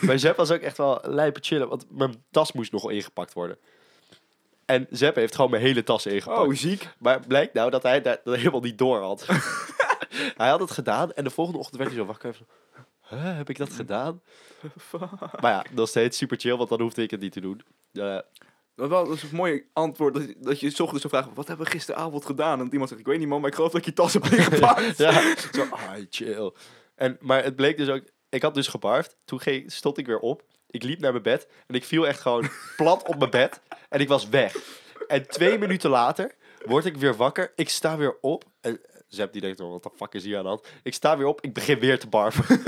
Maar Zep was ook echt wel lijpe chillen, want mijn tas moest nog ingepakt worden. En Zep heeft gewoon mijn hele tas ingepakt.
Oh, ziek.
Maar het blijkt nou dat hij daar dat helemaal niet door had. hij had het gedaan en de volgende ochtend werd hij zo wakker. en zo, Huh, heb ik dat gedaan? maar ja, nog steeds super chill, want dan hoefde ik het niet te doen. Eh,
Dat was, dat is een mooi antwoord dat, je- dat je 's ochtends zou vragen, wat hebben we gisteravond gedaan? En dat iemand zegt, ik weet niet man, maar ik geloof dat ik je tas heb ingepakt.
ja, zo, ah, chill. En, maar het bleek dus ook, ik had dus gebarfd. Toen ging, stond ik weer op. Ik liep naar mijn bed en ik viel echt gewoon plat op mijn bed. En ik was weg. En twee minuten later word ik weer wakker. Ik sta weer op. En Zep die denkt, oh, wat de fuck is hier aan de hand? Ik sta weer op, ik begin weer te barfen.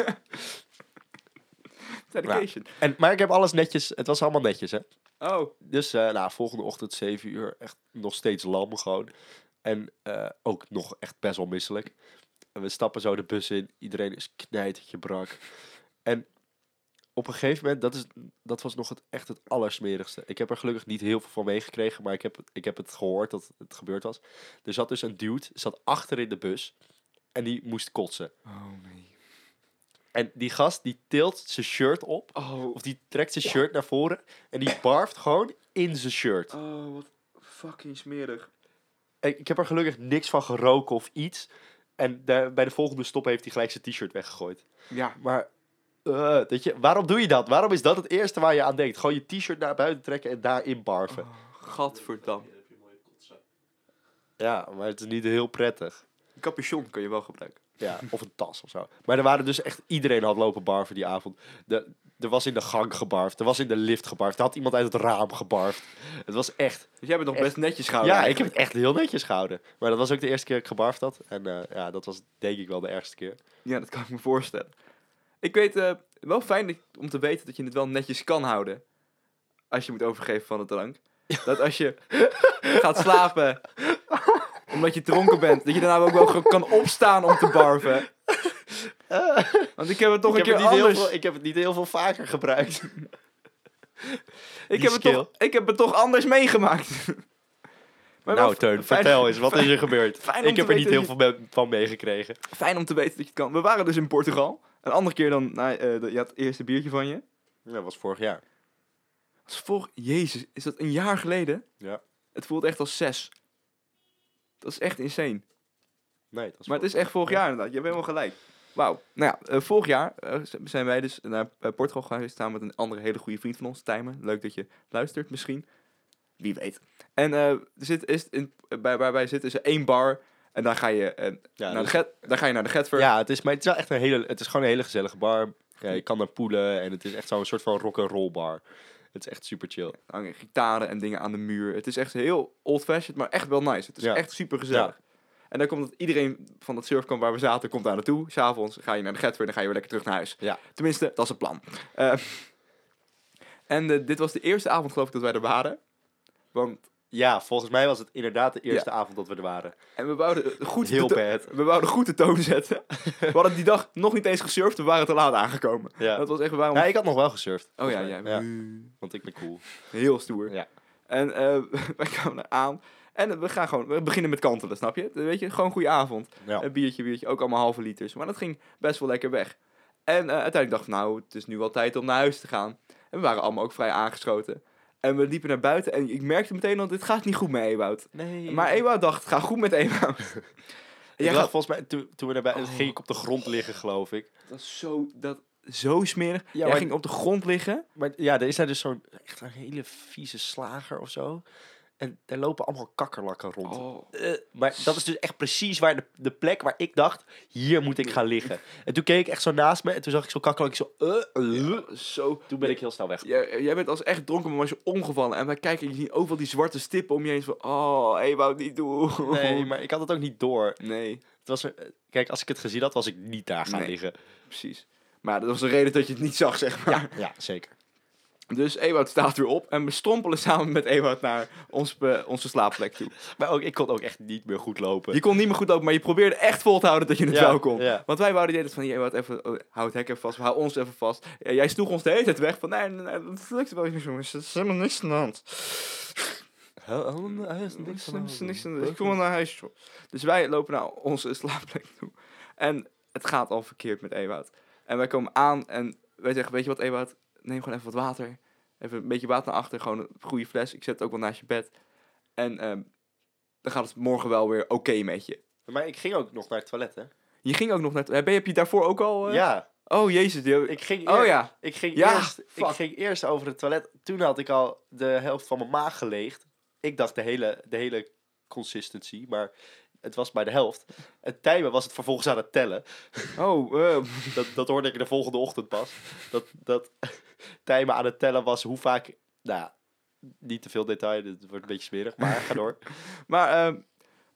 Dedication.
En, maar ik heb alles netjes, het was allemaal netjes hè.
Oh,
Dus eh, nou, volgende ochtend 7 uur, echt nog steeds lam gewoon. En eh, ook nog echt best wel misselijk. En we stappen zo de bus in, iedereen is knijtertje brak. En op een gegeven moment, dat, is, dat was nog het, echt het allersmerigste. Ik heb er gelukkig niet heel veel van meegekregen, maar ik heb, ik heb het gehoord dat het gebeurd was. Er zat dus een dude, zat achter in de bus en die moest kotsen.
oh nee.
En die gast, die tilt zijn shirt op,
Oh,
of die trekt zijn shirt naar voren en die barft gewoon in zijn shirt.
oh wat fucking smerig.
Ik, ik heb er gelukkig niks van geroken of iets. En daar- bij de volgende stop heeft hij gelijk zijn t-shirt weggegooid.
Ja,
Maar, eh, weet je, waarom doe je dat? Waarom is dat het eerste waar je aan denkt? Gewoon je t-shirt naar buiten trekken en daarin barven.
gadverdam.
Ja, maar het is niet heel prettig.
Een capuchon kun je wel gebruiken.
Ja, of een tas of zo. Maar er waren dus echt iedereen had lopen barven die avond. De, er was in de gang gebarfd, er was in de lift gebarfd, er had iemand uit het raam gebarfd. Het was echt...
Dus jij bent nog
Echt.
best netjes gehouden.
ja, ik heb
eigenlijk.
het echt heel netjes gehouden. Maar dat was ook de eerste keer dat ik gebarfd had. En eh, ja, dat was denk ik wel de ergste keer.
Ja, dat kan ik me voorstellen. Ik weet eh, wel fijn dat- om te weten dat je het wel netjes kan houden. Als je moet overgeven van de drank. Dat als je gaat slapen, omdat je dronken bent, dat je daarna ook wel gewoon kan opstaan om te barven. Want ik heb het toch
ik, heb
een keer
het niet heel
anders.
veel, ik heb het niet heel veel vaker gebruikt.
ik,
die
heb het toch, ik heb het toch anders meegemaakt. Maar wel
nou,
f-
Teun,
fijn-
vertel eens, wat is er gebeurd?
fijn om
ik
te
heb er niet
weten
heel veel me- van meegekregen.
Fijn om te weten dat je het kan. We waren dus in Portugal. Een andere keer dan, nou, eh, dat je had het eerste biertje van je.
Dat was vorig jaar.
Dat is voor, jezus, is dat een jaar geleden?
Ja.
Het voelt echt als zes. Dat is echt insane.
Nee, dat was
Maar het is echt vorig jaar inderdaad. Je hebt helemaal gelijk. Wauw. Nou ja, eh, vorig jaar eh, z- zijn wij dus naar eh, Portugal gegaan staan met een andere hele goede vriend van ons, Tijmen. Leuk dat je luistert misschien. Wie weet. En eh, er zit, is in, eh, bij, waar wij zitten is er één bar. En daar ga je, eh,
Ja,
naar,
dus-
de get, daar ga je naar de Getver.
Ja, het is, maar het is wel echt een hele, het is gewoon een hele gezellige bar. Ja, je kan daar poelen en het is echt zo'n soort van rock'n'roll bar. Het is echt super chill.
Er hangen gitaren en dingen aan de muur. Het is echt heel old-fashioned, maar echt wel nice. Het is
Ja.
echt super gezellig. En dan komt dat iedereen van dat surfkamp waar we zaten, komt daar naartoe. S'avonds ga je naar de Getver en dan ga je weer lekker terug naar huis.
Ja.
Tenminste, dat is het plan. Eh, en eh, dit was de eerste avond, geloof ik, dat wij er waren. Want,
Ja, volgens mij was het inderdaad de eerste avond dat we er waren.
en we wouden goed,
Heel
de to-
bad.
we wouden goed de toon zetten. we hadden die dag nog niet eens gesurfd, we waren te laat aangekomen.
Ja.
Dat was echt waarom...
Ja, ik had nog wel gesurfd.
Oh ja,
volgens
ja.
mij. Want ik ben cool.
Heel stoer.
Ja.
En eh, wij kwamen er aan. En we gaan gewoon, we beginnen met kantelen, snap je? Weet je, gewoon goede avond.
Ja.
Een biertje, biertje, ook allemaal halve liters. Maar dat ging best wel lekker weg. En eh, uiteindelijk dacht ik, nou, het is nu wel tijd om naar huis te gaan. En we waren allemaal ook vrij aangeschoten. En we liepen naar buiten en ik merkte meteen al, dit gaat niet goed met Ewout.
Nee.
Maar Ewout dacht, het gaat goed met Ewout.
Ik
Jij
lag
gaat,
volgens mij, toen, toen we daarbij,
Oh.
ging ik op de grond liggen, geloof ik.
dat is zo, dat, zo smerig. Jij
maar-
ging op de grond liggen.
Maar ja, er is daar dus zo'n echt een hele vieze slager of zo. En daar lopen allemaal kakkerlakken rond.
Oh,
Eh, maar dat is dus echt precies waar de, de plek waar ik dacht, hier moet ik gaan liggen. En toen keek ik echt zo naast me en toen zag ik zo'n kakkerlak. Zo, eh, eh.
zo
Toen ben ik heel snel weg.
Jij, jij bent als echt dronken, maar was je omgevallen. En wij kijken, je ziet overal die zwarte stippen om je heen. Van, oh, hey, wou het niet doen.
Nee, maar ik had het ook niet door.
Nee,
Het was, er- eh, kijk, als ik het gezien had, was ik niet daar gaan
Nee.
liggen.
precies. Maar dat was de reden dat je het niet zag, zeg maar.
Ja, zeker.
Dus Ewout staat weer op en we strompelen samen met Ewout naar ons, eh, onze slaapplek toe.
Maar ook, ik kon ook echt niet meer goed lopen.
Je kon niet meer goed lopen, maar je probeerde echt vol te houden dat je het
Ja,
wel kon.
ja.
Want wij wouden de hele tijd van, hier, Ewout, even, oh, hou het hek even vast, hou ons even vast. Ja, jij sloeg ons de hele tijd weg van, nee, nee, nee, dat lukt wel niet zo. Er is helemaal niks aan de hand.
Er is
Er is niks- niks aan de- Ik kom wel naar huis, joh. Dus wij lopen naar onze slaapplek toe. En het gaat al verkeerd met Ewout. En wij komen aan en wij zeggen, weet je wat Ewout, neem gewoon even wat water. Even een beetje water naar achter, gewoon een goede fles. Ik zet het ook wel naast je bed. En ehm, dan gaat het morgen wel weer oké met je.
Maar ik ging ook nog naar het toilet, hè?
Je ging ook nog naar... Heb je, heb je daarvoor ook al... eh?
Ja,
Oh, jezus. Die...
ik ging,
Oh
eer-
ja.
ik, ging
Ja,
eerst, ik
fuck.
ging eerst over het toilet. Toen had ik al de helft van mijn maag geleegd. Ik dacht de hele, de hele consistency, maar het was bij de helft. En Tijmen was het vervolgens aan het tellen.
Oh, eh,
Dat, dat hoorde ik de volgende ochtend pas. Dat, dat Tijmen aan het tellen was hoe vaak... Nou, ja, niet te veel detail, dit wordt een beetje smerig, maar ga door.
Maar, ehm,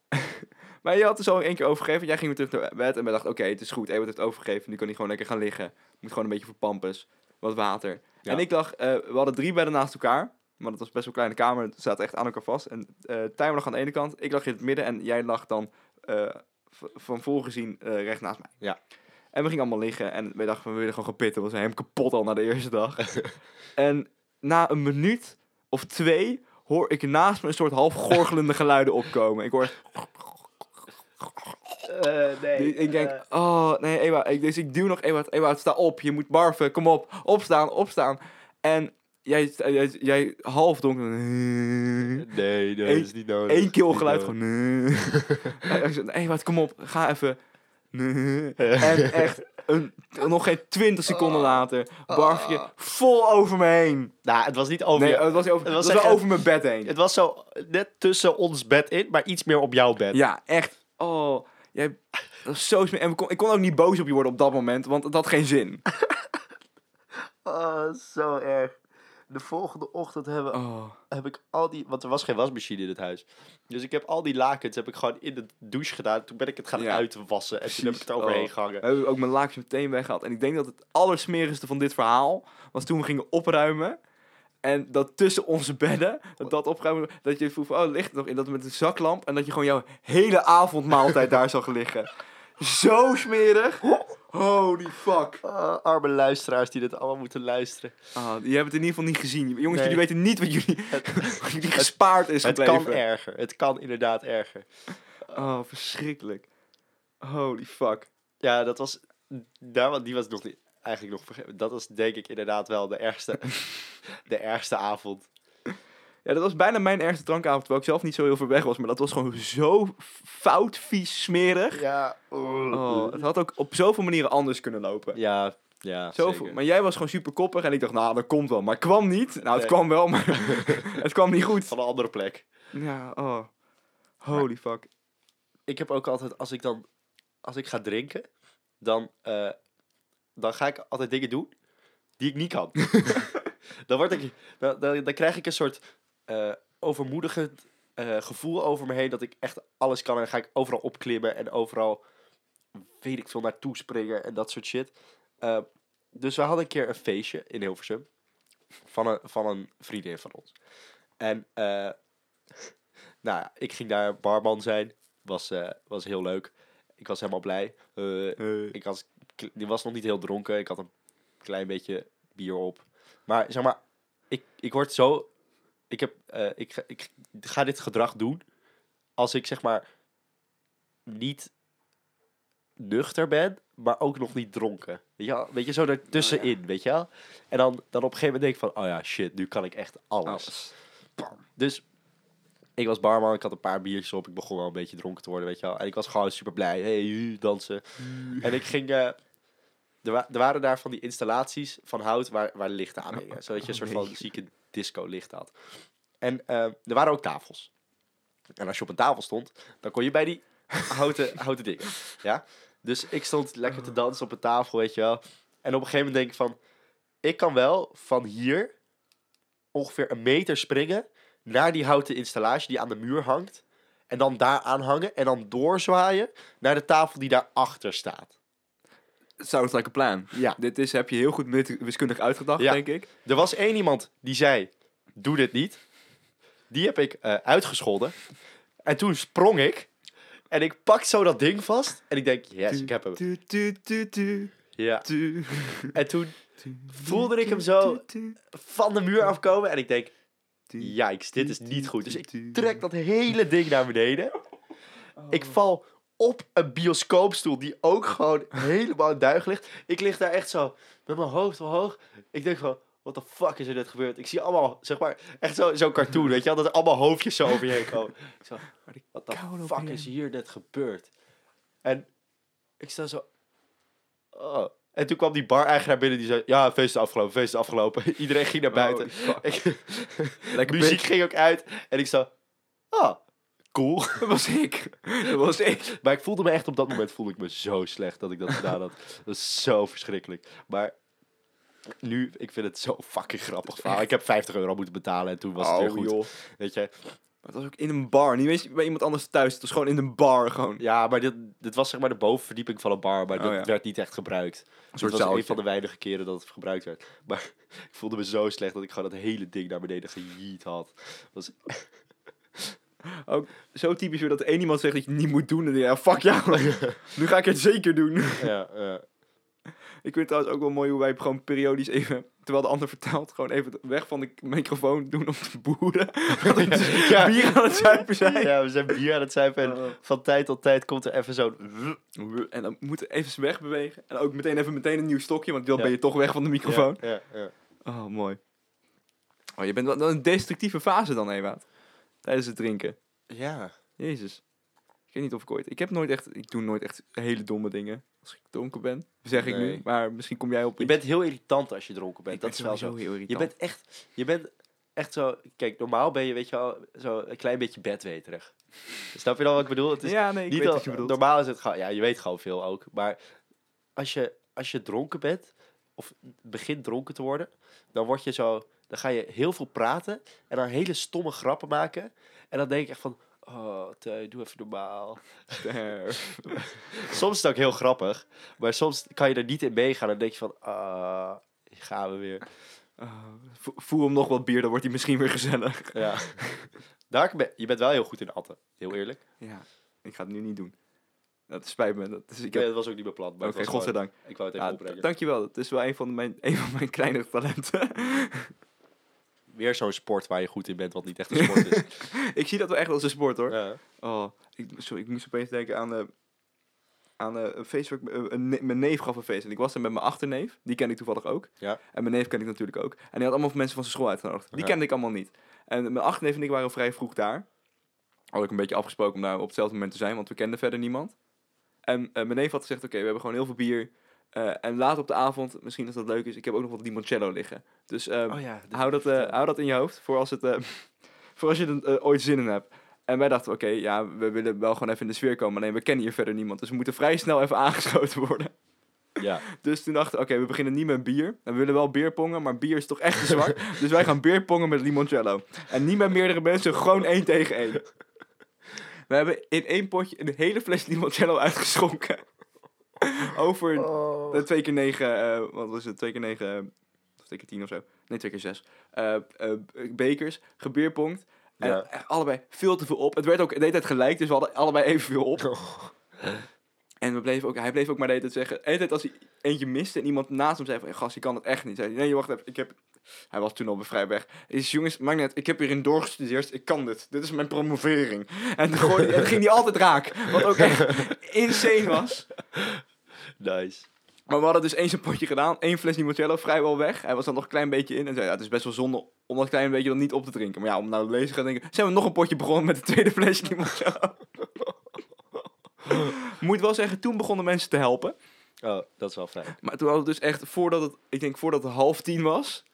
maar je had dus al één keer overgegeven. Jij ging weer terug naar bed en we dachten, oké, het is goed. Ewout heeft overgegeven. Nu kan hij gewoon lekker gaan liggen. Moet gewoon een beetje voor pampers. Wat water.
Ja.
En ik dacht, eh, we hadden drie bedden naast elkaar. Maar dat was best wel een kleine kamer. Het zaten echt aan elkaar vast. En eh Tijmen lag aan de ene kant. Ik lag in het midden. En jij lag dan eh, v- van volgezien eh recht naast mij.
Ja.
En we gingen allemaal liggen. En we dachten, van, we willen gewoon gaan pitten. We zijn helemaal kapot al na de eerste dag. en na een minuut of twee hoor ik naast me een soort half gorgelende geluiden opkomen. Ik hoor...
Eh, nee.
ik denk,
eh,
oh nee, Ewa. Ik, dus ik duw nog Ewout. Ewout, sta op. Je moet barven. Kom op. Opstaan, opstaan. En jij, jij, jij half donker...
nee, dat
Eén-
is niet nodig.
Eén keelgeluid
Niet nodig.
gewoon... Ewout, kom op. Ga even... En echt, een, nog geen 20 seconden later, barfje vol over me heen.
Nou, het was niet over
Nee,
je-
het was, niet over,
Het
het
was
was, wel
echt-
over mijn bed heen.
Het was zo net tussen ons bed in, maar iets meer op jouw bed.
Ja, echt. Oh, jij... Dat is zo smerig. En we kon, ik kon ook niet boos op je worden op dat moment, want het had geen zin.
Oh, zo erg. De volgende ochtend hebben,
Oh.
heb ik al die... Want er was geen wasmachine in het huis. Dus ik heb al die lakens heb ik gewoon in de douche gedaan. Toen ben ik het gaan
Ja,
uitwassen en toen heb ik het
precies.
overheen
Oh.
gehangen.
We hebben ook mijn laakjes meteen weggehaald. En ik denk dat het allersmerigste van dit verhaal was toen we gingen opruimen. En dat tussen onze bedden, dat, dat opruimen, dat je voelt van, oh, ligt het nog in. Dat met een zaklamp en dat je gewoon jouw hele avondmaaltijd daar zag liggen. Zo smerig. Holy fuck.
Ah, arme luisteraars die dit allemaal moeten luisteren.
Ah, je hebt het in ieder geval niet gezien. Jongens,
Nee.
jullie weten niet wat jullie, wat jullie gespaard is
Het
gebleven.
kan erger. Het kan inderdaad erger.
Oh, verschrikkelijk. Holy fuck.
Ja, dat was... Daar, want die was nog niet, eigenlijk nog vergeten. Dat was denk ik inderdaad wel de ergste, de ergste avond.
Ja, dat was bijna mijn ergste drankavond, terwijl ik zelf niet zo heel ver weg was. Maar dat was gewoon zo fout, vies, smerig.
Ja.
Oh, het had ook op zoveel manieren anders kunnen lopen.
Ja, ja.
Zoveel.
zeker.
Maar jij was gewoon super koppig en ik dacht, nou, dat komt wel. Maar het kwam niet. Nou, het
Nee.
kwam wel, maar het kwam niet goed.
Van een andere plek.
Ja, oh. Holy fuck.
Ik heb ook altijd, als ik dan, als ik ga drinken, dan, eh, dan ga ik altijd dingen doen die ik niet kan. Dan, word ik, dan, dan, dan krijg ik een soort eh overmoedigend eh, gevoel over me heen dat ik echt alles kan. En dan ga ik overal opklimmen en overal, weet ik veel, naartoe springen en dat soort shit. Eh, dus we hadden een keer een feestje in Hilversum van een, van een vriendin van ons. En eh, nou, ja, ik ging daar barman zijn. Was, eh, was heel leuk. Ik was helemaal blij. Eh, ik was, k- die was nog niet heel dronken. Ik had een klein beetje bier op. Maar zeg maar, ik, ik word zo. Ik, heb, eh, ik, ga- ik ga dit gedrag doen als ik zeg maar niet nuchter ben, maar ook nog niet dronken. Weet je, wel? weet je zo ertussenin, weet je wel? En dan, dan op een gegeven moment denk ik van, oh ja, shit, nu kan ik echt
nou.
alles. Dus ik was barman, ik had een paar biertjes op. Ik begon wel een beetje dronken te worden, weet je wel. En ik was gewoon super blij. Hey, hu, dansen. En ik ging... eh, er, wa- er waren daar van die installaties van hout waar, waar lichten aan hingen. Zodat je een soort van
nee.
zieke disco licht had. En eh, er waren ook tafels. En als je op een tafel stond, dan kon je bij die houten, houten dingen. Ja? Dus ik stond lekker te dansen op een tafel, weet je wel. En op een gegeven moment denk ik van... Ik kan wel van hier ongeveer een meter springen naar die houten installatie die aan de muur hangt. En dan daar aan hangen en dan doorzwaaien naar de tafel die daarachter staat.
Sounds like a plan.
Ja.
Dit is, heb je heel goed wit- wiskundig uitgedacht,
Ja.
denk ik.
Er was één iemand die zei, doe dit niet. Die heb ik eh, uitgescholden. En toen sprong ik. En ik pak zo dat ding vast. En ik denk, yes, ik heb hem.
Tu, tu, tu, tu,
Ja.
tu.
En toen voelde ik hem zo van de muur afkomen. En ik denk, Jijks, dit is niet goed. Dus ik trek dat hele ding naar beneden. Ik
Oh,
val op een bioscoopstoel die ook gewoon helemaal in duigen ligt. Ik lig daar echt zo met mijn hoofd omhoog. Ik denk van, what the fuck is er net gebeurd? Ik zie allemaal, zeg maar, echt zo- zo'n cartoon, weet je wel? Dat er allemaal hoofdjes zo over je heen komen. Ik zo, what the
koude op
fuck
je
is hier net gebeurd? En ik sta zo... Oh. En toen kwam die bar-eigenaar binnen die zei... Ja, feest is afgelopen, feest is afgelopen. Iedereen ging naar buiten.
Oh, fuck.
Ik-
Lekker
muziek
bitch.
ging ook uit. En ik zo... Ah, cool.
Dat was ik. Dat was ik.
Maar ik voelde me echt op dat moment voelde ik me zo slecht dat ik dat gedaan had. Dat is zo verschrikkelijk. Maar nu, ik vind het zo fucking grappig verhaal. Ik heb 50 euro moeten betalen en toen was
Oh,
het weer goed. Weet je?
Maar het was ook in een bar. Niet eens bij iemand anders thuis. Het was gewoon in een bar. Gewoon.
Ja, maar dit, dit was zeg maar de bovenverdieping van een bar, maar
Oh,
dat
ja.
werd niet echt gebruikt. Dus
soort
het was een
zaaltje.
van de weinige keren dat het gebruikt werd. Maar ik voelde me zo slecht dat ik gewoon dat hele ding naar beneden gejiet had. Was,
Ook zo typisch weer dat één iemand zegt dat je het niet moet doen. En dan denk je, ja, fuck jou. nu ga ik het zeker doen.
ja, ja.
Ik vind het trouwens ook wel mooi hoe wij gewoon periodisch even, terwijl de ander vertelt, gewoon even weg van de microfoon doen om te boeren. Want we
Ja.
bier aan het zuipen zijn.
ja, we zijn bier aan het zuipen en
Oh.
van tijd tot tijd komt er even zo'n...
En dan moeten we even wegbewegen. En ook meteen even meteen een nieuw stokje, want dan
Ja.
ben je toch weg van de microfoon.
Ja, ja, ja.
Oh, mooi. Oh, je bent wel wel een destructieve fase dan, Ewout. Tijdens het drinken.
Ja.
Jezus. Ik weet niet of ik ooit... Ik heb nooit echt... Ik doe nooit echt hele domme dingen. Als ik dronken ben, zeg ik
Nee.
nu. Maar misschien kom jij op
Je
iets.
bent heel irritant als je dronken bent.
Ik
dat
ben
is wel
sowieso
zo. Je
heel irritant.
bent echt, je bent echt zo. Kijk, normaal ben je, weet je wel, zo een klein beetje bedweterig. Snap je dan wat ik bedoel? Het is
ja, nee, ik
niet
weet
al-
wat je bedoelt.
normaal is het gewoon. Ja, je weet gewoon veel ook. Maar als je, als je dronken bent of begint dronken te worden, dan word je zo. Dan ga je heel veel praten en dan hele stomme grappen maken. En dan denk ik echt van. Oh, Teu, doe even normaal. Soms is het ook heel grappig, maar soms kan je er niet in meegaan. Dan denk je van, ah, hier gaan we weer.
Oh, vo- voer hem nog wat bier, dan wordt hij misschien weer gezellig.
Ja. Daar, ben- je bent wel heel goed in atten, heel eerlijk.
Ja, ik ga het nu niet doen. Dat spijt me. Dat is, ik
Nee,
heb...
dat was ook niet bepland, maar
Oké,
het was gewoon-
godzijdank.
ik wou het even
Ja,
opbrengen.
d- dankjewel. Dat is wel een van mijn, een van mijn kleinere talenten.
Weer zo'n sport waar je goed in bent, wat niet echt een sport is.
ik zie dat wel echt als een sport, hoor.
Ja.
Oh, ik, sorry, ik moest opeens denken aan, eh, aan eh, een feest. waar ik- eh, een ne- mijn neef gaf een feest. En ik was er met mijn achterneef. Die ken ik toevallig ook.
Ja.
En mijn neef ken ik natuurlijk ook. En die had allemaal mensen van zijn school uitgenodigd. Die
Ja.
kende ik allemaal niet. En mijn achterneef en ik waren vrij vroeg daar. Had ik een beetje afgesproken om daar op hetzelfde moment te zijn. Want we kenden verder niemand. En eh, mijn neef had gezegd, oké, we hebben gewoon heel veel bier. eh, en laat op de avond, misschien als dat leuk is, ik heb ook nog wat limoncello liggen. Dus ehm,
Oh ja.
hou dat, eh, hou dat in je hoofd voor als, het, eh, voor als je er eh, ooit zin in hebt. En wij dachten, oké, ja, we willen wel gewoon even in de sfeer komen. Alleen we kennen hier verder niemand. Dus we moeten vrij snel even aangeschoten worden.
Ja.
Dus toen dachten we, oké, we beginnen niet met bier. En we willen wel bier pongen, maar bier is toch echt te zwaar. dus wij gaan bier pongen met limoncello. En niet met meerdere mensen, gewoon één tegen één. We hebben in één potje een hele fles limoncello uitgeschonken. Over eh, twee keer negen, eh, wat was het, twee keer negen, eh, of twee keer tien of zo. Nee, twee keer zes. Eh, eh, bekers, gebierponkt. En
Ja.
echt allebei veel te veel op. Het werd ook de hele tijd gelijk, dus we hadden allebei evenveel op.
Oh.
En we bleven ook, hij bleef ook maar de hele tijd zeggen. De hele tijd als hij eentje miste en iemand naast hem zei van... "Hey, Gast, je kan het echt niet. Zei hij, nee, wacht even. Ik heb... Hij was toen al vrij weg. Hij zei, jongens, maakt net. Ik heb hierin doorgestudeerd. Ik kan dit. Dit is mijn promovering. En toen gooide- en ging hij altijd raak. Wat ook echt insane was.
Nice.
Maar we hadden dus eens een potje gedaan. één fles limoncello vrijwel weg. Hij was dan nog een klein beetje in. En zei, ja, het is best wel zonde om dat klein beetje dan niet op te drinken. Maar ja, om nou te lezen gaan denken... Zijn we nog een potje begonnen met het tweede flesje limoncello. Moet wel zeggen, toen begonnen mensen te helpen.
Oh, dat is wel fijn.
Maar toen hadden we dus echt, voordat het, ik denk voordat het half tien was,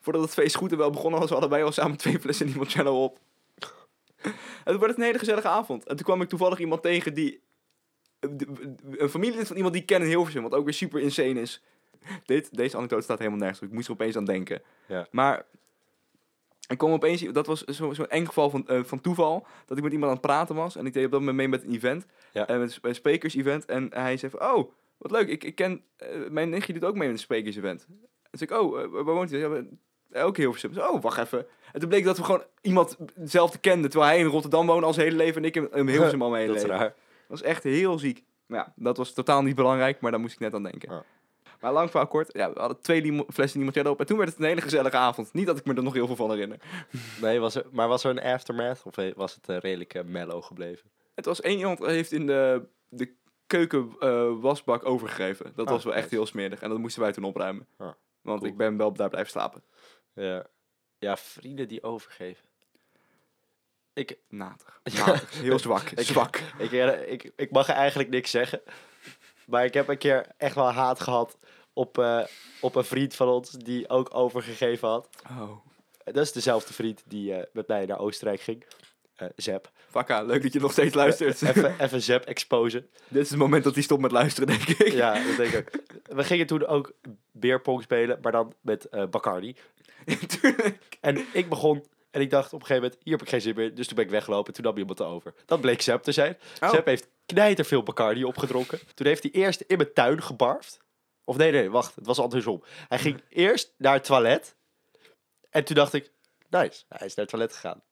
voordat het feest goed en wel begonnen was, we allebei al samen twee flessen limoncello op. En toen werd het een hele gezellige avond. En toen kwam ik toevallig iemand tegen die, de- een familielid van iemand die ik ken in Hilversum, wat ook weer super insane is. Dit, deze anekdote staat helemaal nergens op. Ik moest er opeens aan denken.
Ja.
Maar ik kwam opeens, dat was zo- zo'n eng geval van, eh, van toeval, dat ik met iemand aan het praten was. En ik deed op dat moment mee met een event,
Ja.
eh, met een sp- een sprekers-event. En hij zei van, oh, wat leuk, ik, ik ken, eh, mijn nichtje doet ook mee met een sprekers-event. Dus ik, oh, eh, waar woont hij? Ja, we- eh, ook Hilversum. Ik zei, oh, wacht even. En toen bleek dat we gewoon iemand hetzelfde kenden, terwijl hij in Rotterdam woonde al zijn hele leven en ik in, in Hilversum al mijn hele
Dat is
leven.
raar.
Dat was echt heel ziek. Maar ja, dat was totaal niet belangrijk, maar daar moest ik net aan denken.
Ja.
Maar lang verhaal kort, ja, we hadden twee limo- flessen limoncello op en toen werd het een hele gezellige avond. Niet dat ik me er nog heel veel van herinner.
Nee, was er, maar was er een aftermath of he- was het eh, redelijk eh, mellow gebleven?
Het was één iemand heeft in de, de keuken eh, wasbak overgegeven. Dat
Ah,
was wel echt
nice.
heel smerig en dat moesten wij toen opruimen.
Ah,
Want
cool.
ik ben wel daar blijven slapen.
Ja. Ja, vrienden die overgeven. Ik,
Natig. Natig. Heel zwak.
Ik-
zwak.
ik, ik, ik mag er eigenlijk niks zeggen. Maar ik heb een keer echt wel haat gehad op, eh, op een vriend van ons die ook overgegeven had.
Oh.
Dat is dezelfde vriend die eh, met mij naar Oostenrijk ging. Eh Zep.
Fakka, ah, leuk dat je nog steeds luistert.
Even, even Zep exposen.
Dit is het moment dat hij stopt met luisteren, denk ik.
Ja, dat denk ik ook. We gingen toen ook beerpong spelen, maar dan met eh Bacardi.
Tuurlijk.
En ik begon en ik dacht op een gegeven moment, hier heb ik geen zin meer. Dus toen ben ik weggelopen toen nam iemand over. Dat bleek Zep te zijn.
Oh.
Zep heeft knijterveel Bacardi opgedronken. Toen heeft hij eerst in mijn tuin gebarfd. Of nee, nee, wacht. Het was andersom. Hij ging eerst naar het toilet. En toen dacht ik, nice, hij is naar het toilet gegaan.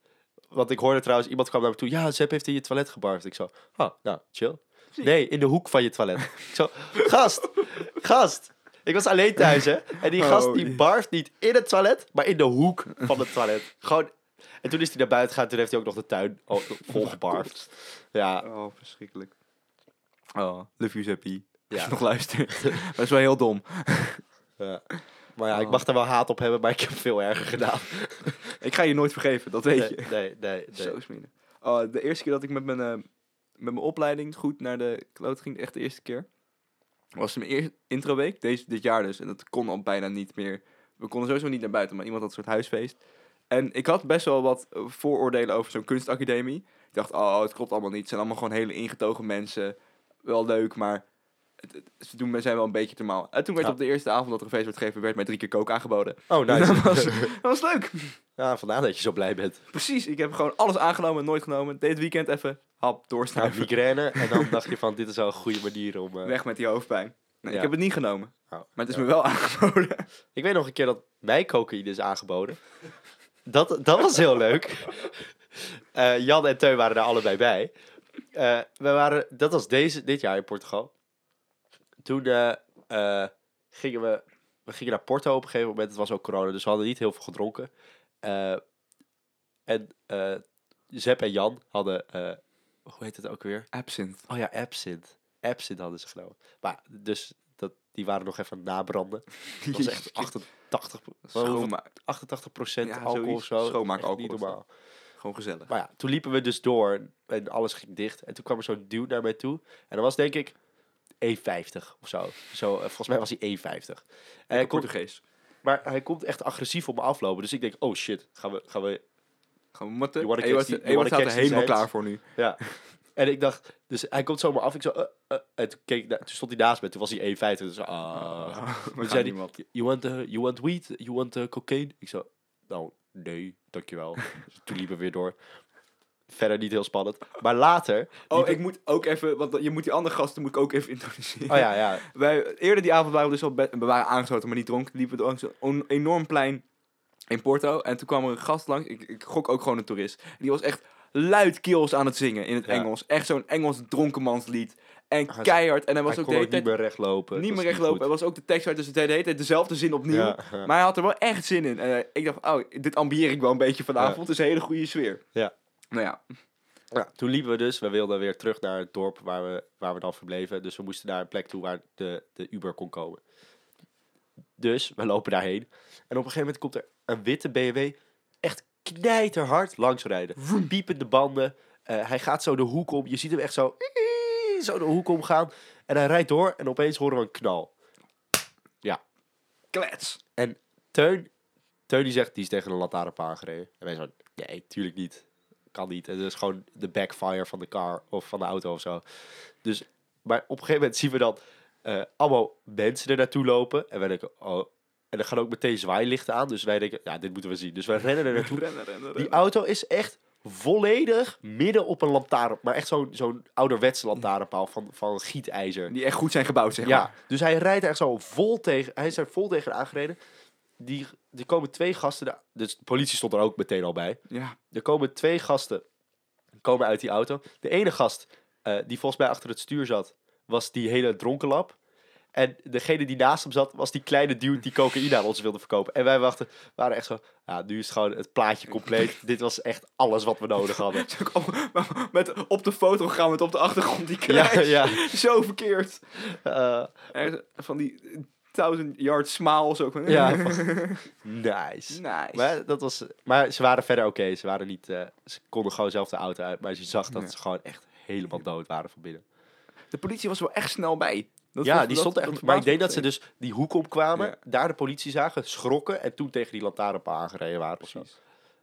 Want ik hoorde trouwens, iemand kwam naar me toe. Ja, Zep heeft in je toilet gebarfd. Ik zo, ah, nou, chill. Nee, in de hoek van je toilet. Ik zo, gast, gast. Ik was alleen thuis, hè. En die gast, die
Oh.
barft niet in het toilet, maar in de hoek van het toilet. Gewoon... En toen is hij naar buiten gegaan, toen heeft hij ook nog de tuin al- vol gebarfd. Ja,
Oh, verschrikkelijk. Oh, love you, Zeppie. Als
Ja.
je nog luistert. dat is wel heel dom.
ja. Maar
Oh.
ja, ik mag daar wel haat op hebben, maar ik heb veel erger gedaan.
Ik ga je nooit vergeven, dat weet je.
Nee, nee, nee. nee.
Zo smerig. Oh, de eerste keer dat ik met mijn, eh, met mijn opleiding goed naar de kloot ging, echt de eerste keer, was mijn eerste introweek, deze, dit jaar dus. En dat kon al bijna niet meer. We konden sowieso niet naar buiten, maar iemand had een soort huisfeest. En ik had best wel wat eh, vooroordelen over zo'n kunstacademie. Ik dacht, oh, het klopt allemaal niet. Het zijn allemaal gewoon hele ingetogen mensen. Wel leuk, maar het, het- ze doen, me- zijn wel een beetje te maal. En toen werd
Ja.
op de eerste avond dat er een feest werd gegeven, werd mij drie keer coke aangeboden.
Oh,
Dat, was,
nice.
dat was leuk.
Ja, vandaar dat je zo blij bent.
Precies, ik heb gewoon alles aangenomen en nooit genomen. Dit weekend even, hap,
Ja,
doorsnuiven.
Nou, migraine. En dan dacht je van, dit is wel een goede manier om... eh,
Weg met die hoofdpijn. Nee,
Ja.
Ik heb het niet genomen,
nou,
maar het
ja.
is me wel aangeboden.
Ik weet nog een keer dat mij cocaïne is aangeboden. Dat, dat was heel leuk. Eh, Jan en Teun waren daar allebei bij. Eh, we waren, dat was deze, dit jaar in Portugal. Toen eh, eh, gingen we, we gingen naar Porto op een gegeven moment. Het was ook corona, dus we hadden niet heel veel gedronken. Eh, en eh Zep en Jan hadden, eh, hoe heet het ook weer?
Absinthe.
Oh ja, absint. Absint hadden ze genomen. Maar dus, dat, die waren nog even aan het nabranden. Dat was echt 88, hoeveel-
Schoonma-
88 procent
Ja,
alcohol of
zoiets.
zo.
Schoonmaak
Echt Niet
alcohol is dat.
normaal.
Gewoon gezellig.
Maar ja, toen liepen we dus door en alles ging dicht. En toen kwam er zo'n dude naar mij toe. En dat was denk ik 1,50 of zo. zo eh, volgens mij was hij 1,50. En hij komt,
Portugees.
maar hij komt echt agressief op me aflopen. Dus ik denk, oh shit, gaan we... Gaan we
Gewoon matten.
You wanna
Ewout
catch the- you
Ewout
wanna
staat er
catch these hands?
helemaal klaar voor nu.
ja. En ik dacht, dus hij komt zomaar af. Ik zo, eh, eh. en toen, keek ik naar- toen stond hij naast me. Toen was hij 1,50. Dus ah.
we
toen
gaan
zei
niemand.
hij, you want, eh, you want weed? You want eh, cocaine? Ik zo, nou, nee, dankjewel. Dus toen liepen we weer door. Verder niet heel spannend. Maar later...
Oh,
liep
ik moet ook even, want je moet die andere gasten moet ik ook even introduceren.
Oh ja, ja.
Wij, eerder die avond waren we dus al bed, we waren aangesloten, maar niet dronken. Liepen we langs een on- enorm plein in Porto. En toen kwam er een gast langs, ik, ik gok ook gewoon een toerist. Die was echt luidkeels aan het zingen in het
Ja.
Engels. Echt zo'n Engels dronkenmanslied. En
Hij-
keihard. En hij was
Hij
ook de
kon
hele
ook
tijd
niet meer recht lopen.
niet
Het
meer
was
recht lopen. Hij
goed.
was ook de tekst uit, dus hij deed de hele tijd dezelfde zin opnieuw.
Ja, ja.
Maar hij had er wel echt zin in. En eh, ik dacht, oh, dit ambieer ik wel een beetje vanavond.
Ja.
Het is een hele goede sfeer.
Ja.
Nou ja,
Ja, toen liepen we dus, we wilden weer terug naar het dorp waar we, waar we dan verbleven. Dus we moesten naar een plek toe waar de, de Uber kon komen. Dus we lopen daarheen. En op een gegeven moment komt er een witte BMW echt knijterhard langsrijden. Piepende banden. Eh, hij gaat zo de hoek om. Je ziet hem echt zo, zo de hoek omgaan. En hij rijdt door en opeens horen we een knal.
klets.
En Teun, Teun die zegt, die is tegen een lantaarnpaal aangereden. En wij zo, nee, tuurlijk niet. Kan niet. En dat is gewoon de backfire van de car of van de auto of zo. Dus, maar op een gegeven moment zien we dan eh, allemaal mensen er naartoe lopen. En wij denken, oh... En er gaan ook meteen zwaailichten aan. Dus wij denken, ja, dit moeten we zien. Dus wij rennen er naartoe.
Rennen, rennen, rennen.
Die auto is echt volledig midden op een lantaarn. Maar echt zo'n zo'n ouderwetse lantaarnpaal van, van gietijzer.
Die echt goed zijn gebouwd, zeg
Ja,
maar.
dus hij rijdt echt zo vol tegen. Hij is er vol tegen aangereden. Die, er komen twee gasten. daar- Dus de politie stond er ook meteen al bij.
Ja.
Er komen twee gasten. Komen uit die auto. De ene gast, eh, die volgens mij achter het stuur zat, was die hele dronkenlap. En degene die naast hem zat, was die kleine dude die cocaïne aan ons wilde verkopen. En wij wachten, waren echt zo. Ja, nu is gewoon het plaatje compleet. Dit was echt alles wat we nodig hadden.
Het is ook al- maar Met, op de foto gaan met op de achtergrond die
Ja,
krijgt.
ja.
Zo verkeerd.
eh,
Echt Van die thousand yard smiles ook.
ja. Nice.
Nice.
Maar, dat was, maar ze waren verder oké. Ze waren niet... eh, ze konden gewoon zelf de auto uit. Maar je zag dat
Ja.
ze gewoon echt helemaal dood waren van binnen.
De politie was wel echt snel bij. Dat
ja,
was-
die
dat-
stond er echt...
dat
maar ik denk dat
verbaasde
ze
me
dus die hoek opkwamen.
Ja.
Daar de politie zagen. Schrokken. En toen tegen die lantaarnpaal aangereden waren. of zo.
Precies.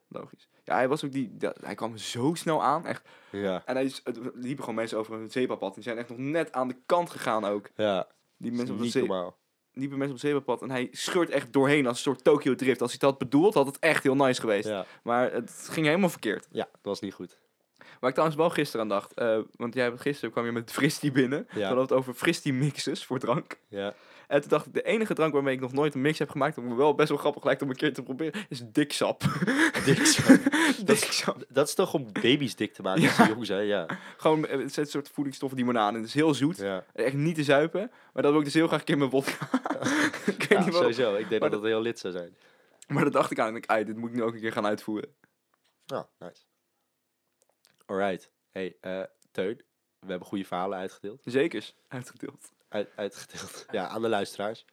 Logisch. Ja, hij was ook die... dat- hij kwam zo snel aan, echt.
Ja.
En hij is, het liepen gewoon mensen over een zebrapad. Die zijn echt nog net aan de kant gegaan ook.
Ja.
Die
Mensen
mensen op het
niet
ze-
normaal.
liepen mensen op het zebrapad. En hij scheurt echt doorheen als een soort Tokyo Drift. Als hij dat bedoeld had, het echt heel nice geweest.
Ja.
Maar het ging helemaal verkeerd.
ja, dat was niet goed.
Waar ik trouwens wel gisteren aan dacht. eh, want jij hebt gisteren kwam je met Fristie binnen. Toen hadden we het over Fristie mixes voor drank.
Ja.
En toen dacht ik, de enige drank waarmee ik nog nooit een mix heb gemaakt, dat me wel best wel grappig lijkt om een keer te proberen, is diksap. diksap.
Dat is toch om baby's dik te maken
Ja.
als ze jong zijn. Ja.
Gewoon, eh, het zijn soort voedingsstoffen die banaan. En het is heel zoet.
Ja,
Echt niet te zuipen. Maar dat wil ik dus heel graag een keer met wodka. ik
ja
weet niet waarom.
Ah, sowieso. Ik denk
Maar
dat dat heel lid zou zijn.
Maar dat dacht ik aan. En ik, ai, dit moet ik nu ook een keer gaan uitvoeren. Oh,
Ja, nice. Alright. Hey, eh, Teun. We hebben goede verhalen uitgedeeld.
Zekers. Uitgedeeld.
uit, uitgedeeld. Ja, aan de luisteraars.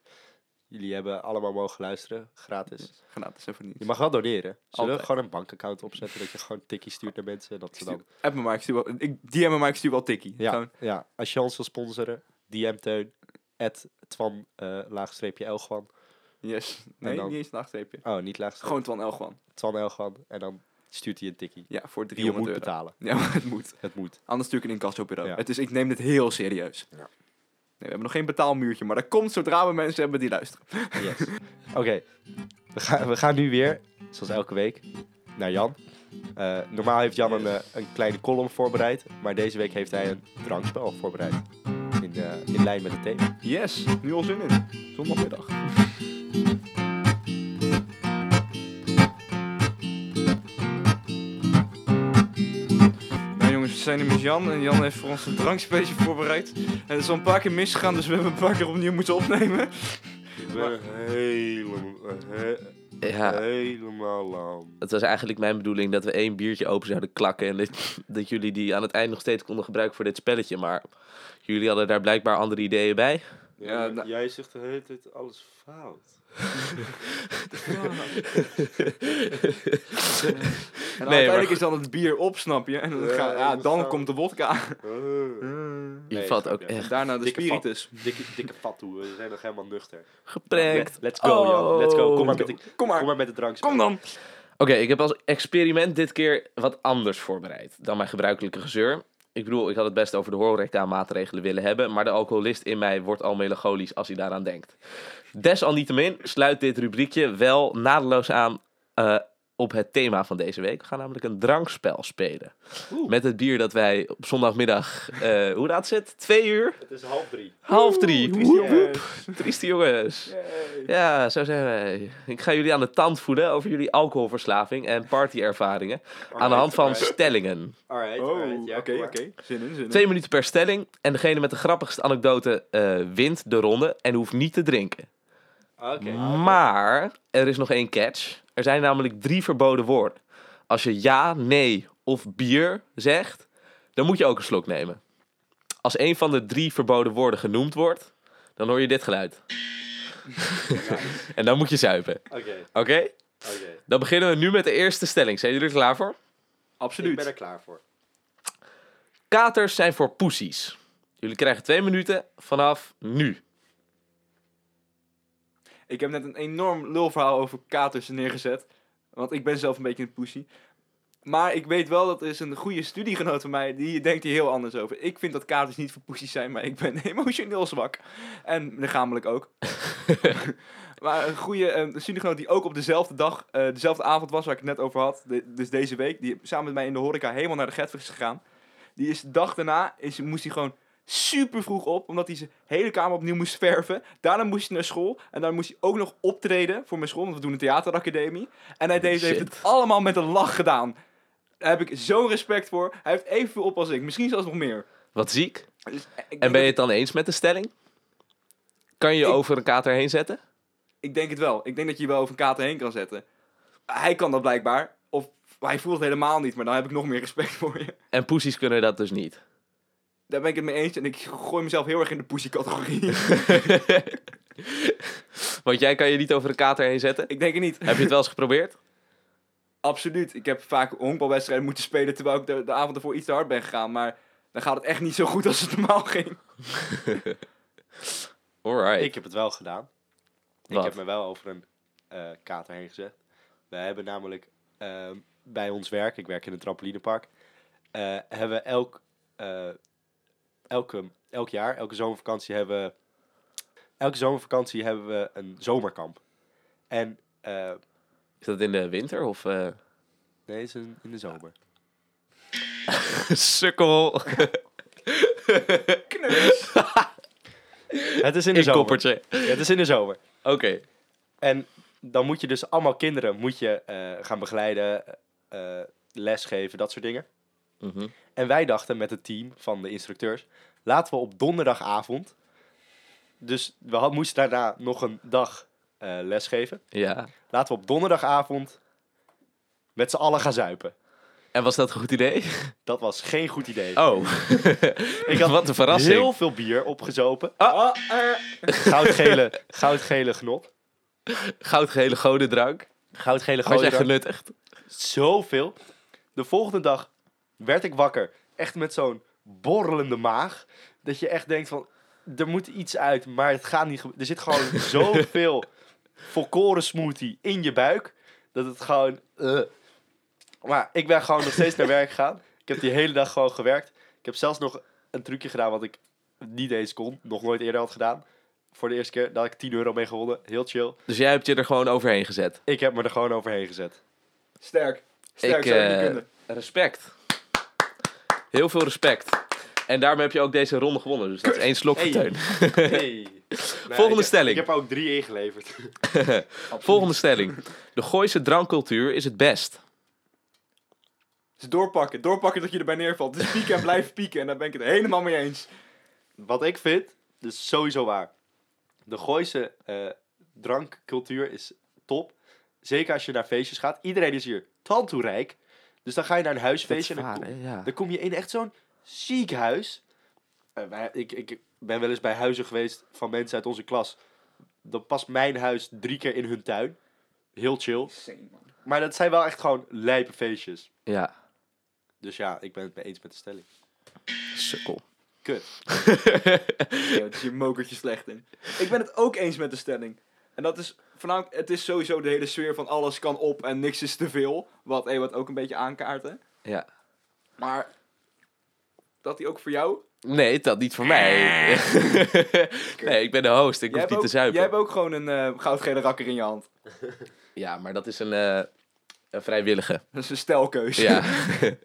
Jullie hebben allemaal mogen luisteren, gratis.
Gratis even niet.
Je mag wel doneren. Zullen we
Altijd.
gewoon een bankaccount opzetten dat je gewoon tikkie stuurt naar mensen en dat ze dan...
App me maar, ik stuur wel, ik, DM me maar, ik stuur wel tikkie.
Ja,
Gewoon,
ja, als je ons wil sponsoren, DM Teun, at Twan, eh, laagstreepje Elgwan.
yes. Nee,
dan-
niet eens een nachtstreepje.
Oh, niet laagstreepje,
Gewoon Twan Elgwan.
Twan Elgwan. En dan stuurt hij een tikkie.
Ja, voor
Die je
300
moet
euro.
betalen.
Ja, maar het moet.
Het moet.
Anders natuurlijk een incassobureau.
Ja.
Het is, ik neem dit heel serieus.
Ja.
Nee, we hebben nog geen betaalmuurtje, maar dat komt zodra we mensen hebben die luisteren.
Yes. Oké, we, gaan, we gaan nu weer, zoals elke week, naar Jan. Eh, normaal heeft Jan een, eh, een kleine column voorbereid, maar deze week heeft hij een drankspel voorbereid. In, eh, in lijn met het thema.
Yes, nu al zin in. Zondagmiddag. Nou jongens, we zijn hier met Jan en Jan heeft voor ons een drankspelletje voorbereid. En het is al een paar keer misgegaan, dus we hebben een paar keer opnieuw moeten opnemen.
Helemaal,
Ja,
helemaal lam.
het was eigenlijk mijn bedoeling dat we één biertje open zouden klakken. En dat, dat jullie die aan het eind nog steeds konden gebruiken voor dit spelletje. Maar jullie hadden daar blijkbaar andere ideeën bij.
Ja, maar nou-
Eh, Jij zegt de hele tijd alles fout.
En
maar
uiteindelijk
goed.
is dan het bier op, snap je? En dan,
Ja,
ga- ja,
dat
dan
zou-
komt de wodka.
Eh.
Je
Nee,
valt
snap
ook
je.
echt
Daarna de
Dikke vat.
spiritus.
Dikke, dikke fat toe, we zijn nog helemaal nuchter.
geprankt.
Let's go, Jan. Let's go. Kom maar
Oh.
met de,
Kom
kom
maar,
maar met de drankspel.
kom dan.
Oké, ik heb als experiment dit keer wat anders voorbereid dan mijn gebruikelijke gezeur. ik bedoel, ik had het best over de horeca-maatregelen willen hebben, maar de alcoholist in mij wordt al melancholisch als hij daaraan denkt. Desalniettemin sluit dit rubriekje wel nadeloos aan eh, op het thema van deze week. We gaan namelijk een drankspel spelen. Met het bier dat wij op zondagmiddag, eh, hoe laat is het? Twee uur?
Het is half drie.
Half drie.
Trieste
Woep, woep.
jongens.
Trieste jongens.
Yay.
Ja, zo zijn wij. Ik ga jullie aan de tand voeden over jullie alcoholverslaving en partyervaringen. Aan de hand van stellingen.
Alright,
Oh,
alright. ja,
oké,
kom maar.
oké. Zin in, zin in.
Twee minuten per stelling. En degene met de grappigste anekdote eh, wint de ronde en hoeft niet te drinken.
Oké.
Maar er is nog één catch. Er zijn namelijk drie verboden woorden. Als je ja, nee of bier zegt, dan moet je ook een slok nemen. Als een van de drie verboden woorden genoemd wordt, dan hoor je dit geluid. en dan moet je zuipen.
Oké,
Oké?
oké.
Dan beginnen we nu met de eerste stelling. Zijn jullie er klaar voor?
Ik ben
Absoluut.
er klaar voor.
Katers zijn voor poesies. Jullie krijgen twee minuten vanaf nu.
Ik heb net een enorm lulverhaal over katers neergezet. Want ik ben zelf een beetje een poesie. Maar ik weet wel dat er is een goede studiegenoot van mij die denkt hier heel anders over. Ik vind dat katers niet voor poesies zijn, maar ik ben emotioneel zwak. En lichamelijk ook. maar een goede eh, studiegenoot die ook op dezelfde dag, eh, dezelfde avond was waar ik het net over had. de- dus deze week, die samen met mij in de horeca helemaal naar de Getver is gegaan. Die is de dag daarna, is, moest hij gewoon super vroeg op, omdat hij zijn hele kamer opnieuw moest verven. Daarna moest hij naar school en dan moest hij ook nog optreden voor mijn school, want we doen een theateracademie. En hij deed, heeft
Shit.
het allemaal met een lach gedaan. Daar heb ik zo'n respect voor. Hij heeft evenveel op als ik, misschien zelfs nog meer.
Wat ziek.
Dus, eh, ik,
En
denk
ben je
dat-
het dan eens met de stelling? Kan je je
Ik-
over een kater heen zetten?
ik denk het wel. Ik denk dat je je wel over een kater heen kan zetten. Hij kan dat blijkbaar, of hij voelt het helemaal niet, maar dan heb ik nog meer respect voor je.
En poesies kunnen dat dus niet.
Daar ben ik het mee eens en ik gooi mezelf heel erg in de poesie-categorie.
Want jij kan je niet over een kater heen zetten?
ik denk het niet.
Heb je het wel eens geprobeerd?
Absoluut. Ik heb vaak honkbalwedstrijden moeten spelen terwijl ik de, de avond ervoor iets te hard ben gegaan. Maar dan gaat het echt niet zo goed als het normaal ging.
Alright.
Ik heb het wel gedaan. Ik
Wat?
heb me wel over een eh, kater heen gezet. We hebben namelijk ehm, bij ons werk, ik werk in een trampolinepark, eh, hebben we elk, eh, elke, elk jaar, elke zomervakantie hebben we, elke zomervakantie hebben we een zomerkamp. En eh,
Is dat in de winter of... eh
nee, het is een- in de zomer.
Sukkel.
Knus.
Het is in de
Een
zomer.
koppertje.
Ja, het is in de zomer.
Oké.
En dan moet je dus allemaal kinderen moet je, eh, gaan begeleiden, eh lesgeven, dat soort dingen.
Mhm.
En wij dachten met het team van de instructeurs, laten we op donderdagavond. Dus we had, moesten daarna nog een dag eh, lesgeven.
Ja.
Laten we op donderdagavond met z'n allen gaan zuipen.
En was dat een goed idee?
Dat was geen goed idee.
Oh.
ik had
Wat een verrassing.
heel veel bier opgezopen.
Ah, eh.
Goudgele, goudgele genot.
Goudgele godendrank.
Goudgele
Was jij
gooier.
genuttigd?
zoveel. De volgende dag werd ik wakker. Echt met zo'n borrelende maag. Dat je echt denkt van, er moet iets uit, maar het gaat niet. gebe- Er zit gewoon zoveel volkoren smoothie in je buik. Dat het gewoon... eh. Maar ik ben gewoon nog steeds naar werk gegaan. Ik heb die hele dag gewoon gewerkt. Ik heb zelfs nog een trucje gedaan wat ik niet eens kon. Nog nooit eerder had gedaan. Voor de eerste keer dat ik 10 euro mee gewonnen. Heel chill.
Dus jij hebt je er gewoon overheen gezet.
Ik heb me er gewoon overheen gezet.
Sterk. Sterk
Ik,
zou je niet
eh,
kunnen.
Respect. Heel veel respect. En daarmee heb je ook deze ronde gewonnen. Dus dat is één slok
Hey.
voor Teun.
Nou, ik-
stelling.
Ik heb er ook drie ingeleverd.
Volgende stelling. De Gooise drankcultuur is het best.
Dus doorpakken. Doorpakken dat je erbij neervalt. Dus pieken en blijf pieken. En daar ben ik het helemaal mee eens.
Wat ik vind, dat is sowieso waar. De Gooise eh, drankcultuur is top. Zeker als je naar feestjes gaat. Iedereen is hier tantoerijk. Dus dan ga je naar een huisfeestje. en dan, kom,
ja.
dan kom je in echt zo'n ziek huis. Eh, wij- ik, ik ben wel eens bij huizen geweest van mensen uit onze klas. Dan past mijn huis drie keer in hun tuin. Heel chill. Maar dat zijn wel echt gewoon lijpe feestjes.
Ja,
Dus ja, ik ben het mee eens met de stelling.
sukkel.
Kut.
Ja, het is je mokertje slecht in. Ik ben het ook eens met de stelling. En dat is voornamelijk, het is sowieso de hele sfeer van alles kan op en niks is te veel. Wat Ewart ook een beetje aankaarten.
Ja.
Maar Dat die ook voor jou?
Nee, dat niet voor mij. nee, ik ben de host. Ik
Jij hebt,
hoef niet te
ook,
zuipen.
jij hebt ook gewoon een eh, goudgele rakker in je hand.
Ja, maar dat is een, eh, een vrijwillige.
Dat is een stelkeuze.
Ja.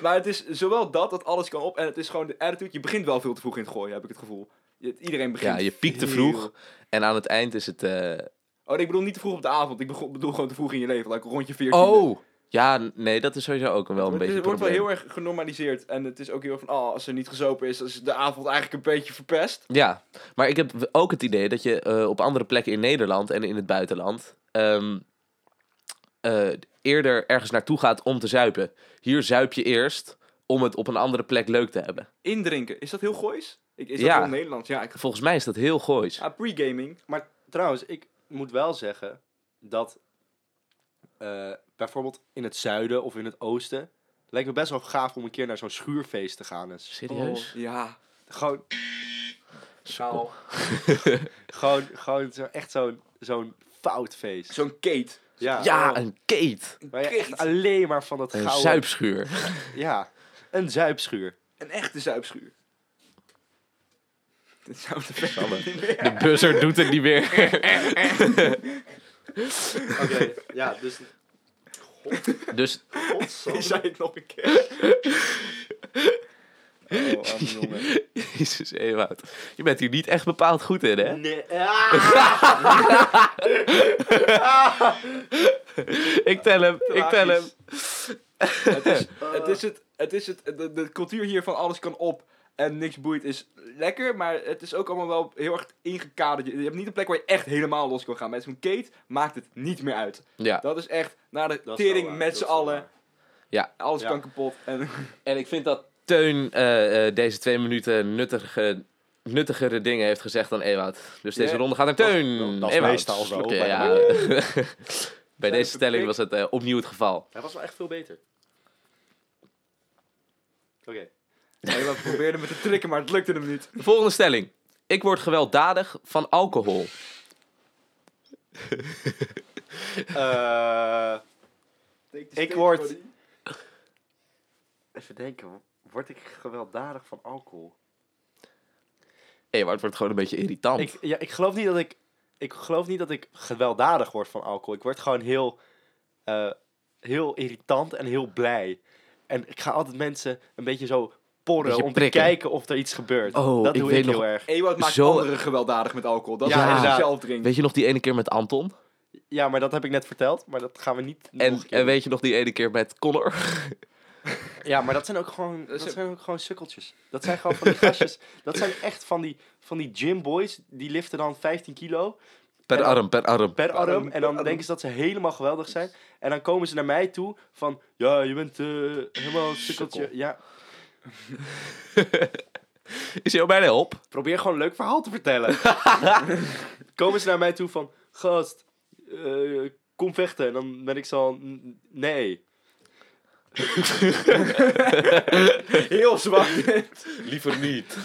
Maar het is zowel dat, dat alles kan op. En het is gewoon de attitude. Je begint wel veel te vroeg in het gooien, heb ik het gevoel. Je- iedereen begint
ja, je piekt te
heel-
vroeg. En aan het eind is het... eh,
Oh, nee, ik bedoel niet te vroeg op de avond. Ik begon- bedoel gewoon te vroeg in je leven. Like rond je 14.
Oh! Ja, n- nee, dat is sowieso ook een- wel een
het
beetje
is-
een
wordt wel
probleem.
heel erg genormaliseerd. En het is ook heel erg van, oh, als er niet gezopen is, dan is de avond eigenlijk een beetje verpest.
Ja, maar ik heb w- ook het idee dat je eh, op andere plekken in Nederland en in het buitenland ehm, eh, eerder ergens naartoe gaat om te zuipen. Hier zuip je eerst om het op een andere plek leuk te hebben.
Indrinken, is dat heel goois? Ik, is dat
Ja.
heel Nederlands? Ja, ik...
Volgens mij is dat heel goois.
Ah, pre-gaming.
Maar trouwens, ik moet wel zeggen dat eh, bijvoorbeeld in het zuiden of in het oosten lijkt me best wel gaaf om een keer naar zo'n schuurfeest te gaan. Dus
Serieus?
Oh, ja.
gewoon,
Zo.
gewoon, gewoon zo, echt zo'n zo'n fout feest.
Zo'n Kate.
ja,
Ja, een keet.
waar je echt
Kate.
alleen maar van dat
Een
gouden...
zuipschuur.
Ja, een zuipschuur.
Een echte zuipschuur. Dit zou te ver niet meer.
De buzzer doet het niet meer.
Oké, ja, dus...
Dus
Ik zei het nog een keer. Oh, arme jongen.
Jezus, Ewout. Je bent hier niet echt bepaald goed in, hè?
Nee, Ah!
Ik tel hem, ik tel hem.
Tragisch. Het is het, is het, het, is het de, de cultuur hier van alles kan op en niks boeit is lekker, maar het is ook allemaal wel heel erg ingekaderd. Je, je hebt niet een plek waar je echt helemaal los kan gaan. Met zo'n Kate maakt het niet meer uit.
Ja,
Dat is echt naar de
wel
tering
waar,
met
dat
z'n
is wel
allen.
waar.
Ja.
Alles
Ja.
kan kapot. En,
en ik vind dat Teun eh, eh, deze twee minuten nuttige, nuttigere dingen heeft gezegd dan Ewout. Dus deze
Ja,
ronde gaat naar
dat-
Teun.
dat- dat is
Ewout.
meestal zo,
Oké,
bij
ja. Bij
Zijn
deze stelling
verplicht.
was het eh, opnieuw het geval.
Hij was wel echt veel beter. Oké.
en we probeerden me te trikken, maar het lukte hem niet.
De volgende stelling. Ik word gewelddadig van alcohol.
Eh, Ik word- even denken, word ik gewelddadig van alcohol?
Ewout wordt gewoon een beetje irritant.
Ik, ja, ik geloof niet dat ik. Ik geloof niet dat ik gewelddadig word van alcohol. Ik word gewoon heel. eh, heel irritant en heel blij. En ik ga altijd mensen een beetje zo porren
Beetje
om te
prikken.
kijken of er iets gebeurt.
Oh,
dat
ik
doe
weet
ik heel
nog-
erg.
Ewout maakt
Zo-
anderen gewelddadig met alcohol. Dat
Ja,
is
inderdaad.
hij zelf drinken.
Weet je nog die ene keer met Anton?
Ja, maar dat heb ik net verteld. Maar dat gaan we niet. nog
En,
een keer
en weet je nog die ene keer met Connor?
doen. Ja, maar dat zijn ook gewoon. Dat
zijn-
zijn ook gewoon sukkeltjes. Dat zijn gewoon van die gastjes. Dat zijn echt van die, van die gymboys. Die liften dan 15 kilo.
Per
En dan-
arm, per arm.
per
arm,
arm.
per
En dan
arm.
denken ze dat ze helemaal geweldig zijn. En dan komen ze naar mij toe van... Ja, je bent eh, helemaal een sukkeltje.
Sukkel.
Ja,
Is hij al bijna op?
probeer gewoon een leuk verhaal te vertellen. komen ze naar mij toe van... Gast, eh, kom vechten. En dan ben ik zo... "N- Nee.
Heel zwaar.
Liever niet.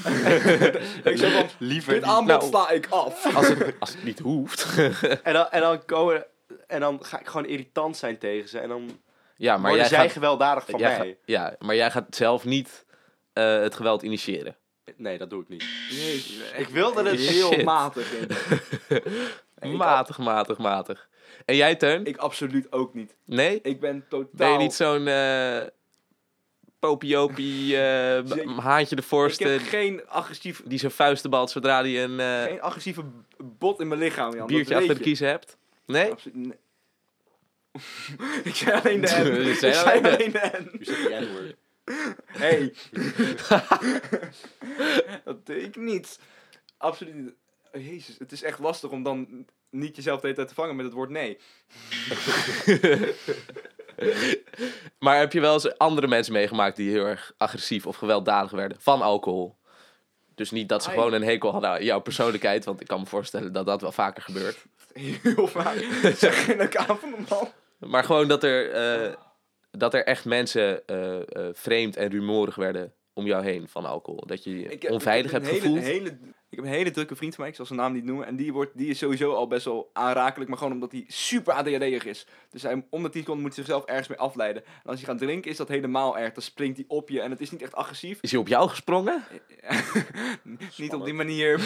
ik zeg van,
Liever
dit
niet.
aanbod
Nou.
sta ik af.
Als het, als het niet hoeft.
En dan, en, dan komen, en dan ga ik gewoon irritant zijn tegen ze. En dan
Ja, maar
worden
jij
zij
gaat,
gewelddadig van
jij
mij.
gaat- ja, maar jij gaat zelf niet eh, het geweld initiëren.
Nee, dat doe ik niet.
ik
Ik wilde het...
Shit.
heel matig in. Ik
matig, matig, matig. En jij, Teun?
Ik absoluut ook niet.
nee?
Ik Nou. ben totaal...
Ben je niet zo'n eh popiopie eh, b-
Zeker.
haantje de
ik
voorste
heb geen, agressief,
die zijn vuisten balt zodra hij een eh,
geen agressieve b- bot in mijn lichaam, Jan. dat
biertje
weet
achter
je.
de kiezen hebt? Nee?
Absoluut nee. ik zei alleen de N.
Je
ik
zei
zei
alleen de-
alleen de N. Hey. dat deed ik niet. Absoluut niet. Oh, Jezus, het is echt lastig om dan niet jezelf de hele tijd te vangen met het woord nee.
Maar heb je wel eens andere mensen meegemaakt die heel erg agressief of gewelddadig werden van alcohol? Dus niet dat ze
Ai.
gewoon een hekel hadden aan jouw persoonlijkheid, want ik kan me voorstellen dat dat wel vaker gebeurt.
Heel vaak. Zeg in elkaar van de man.
Maar gewoon dat er, eh, dat er echt mensen eh, eh, vreemd en eh, rumorig werden om jou heen van alcohol? Dat je je
Ik heb-
onveilig
ik heb
hebt
een hele-
gevoeld?
een hele- ik heb een hele drukke vriend van mij, ik zal zijn naam niet noemen. En die, wordt, die is sowieso al best wel aanrakelijk, maar gewoon omdat hij super ADHD'er is. Dus hij, om de 10 seconden moet hij zichzelf ergens mee afleiden. En als hij gaat drinken is dat helemaal erg. Dan springt hij op je en het is niet echt agressief.
Is hij op jou gesprongen?
niet op die manier.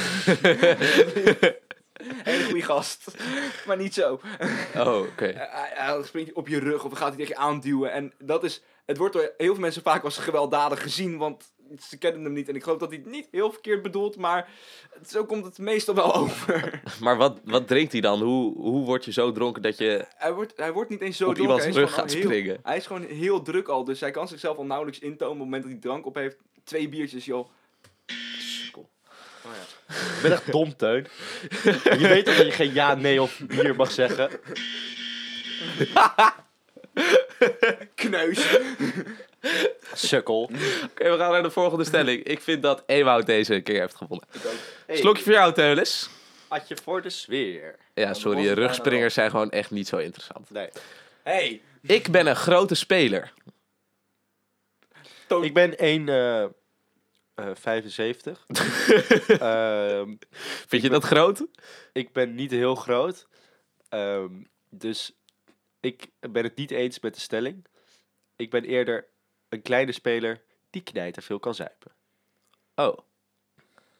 Hele goede gast. Maar niet zo.
Oh, oké.
Eh, Hij hij springt op je rug of dan gaat hij tegen je aanduwen. En dat is, het wordt door heel veel mensen vaak als gewelddadig gezien, want ze kennen hem niet. En ik geloof dat hij het niet heel verkeerd bedoelt, maar zo komt het meestal wel over.
Maar wat, wat drinkt hij dan? Hoe, hoe word je zo dronken dat je
hij, wordt, hij wordt niet eens zo
op
dronken,
iemands
hij is
rug
gewoon
gaat
al heel-
springen?
Hij is gewoon heel druk al, dus hij kan zichzelf al nauwelijks intomen op het moment dat hij drank op heeft. Twee biertjes, joh.
Ik ben echt dom, Teun. Je weet toch dat je geen ja, nee of hier mag zeggen?
Kneus.
Sukkel.
Oké, we gaan naar de volgende stelling. Ik vind dat Ewout deze keer heeft gewonnen.
Hey,
Slokje voor jou, Teulis.
Atje voor de sfeer.
Ja, sorry,
was het
rugspringers zijn gewoon echt niet zo interessant.
Nee.
Hey.
Ik ben een grote speler.
Ik ben 1... eh, eh, 75. Ehm,
Vind je dat groot?
ik ben niet heel groot. Ehm, dus ik ben het niet eens met de stelling. Ik ben eerder een kleine speler die knijter veel kan zuipen.
Oh,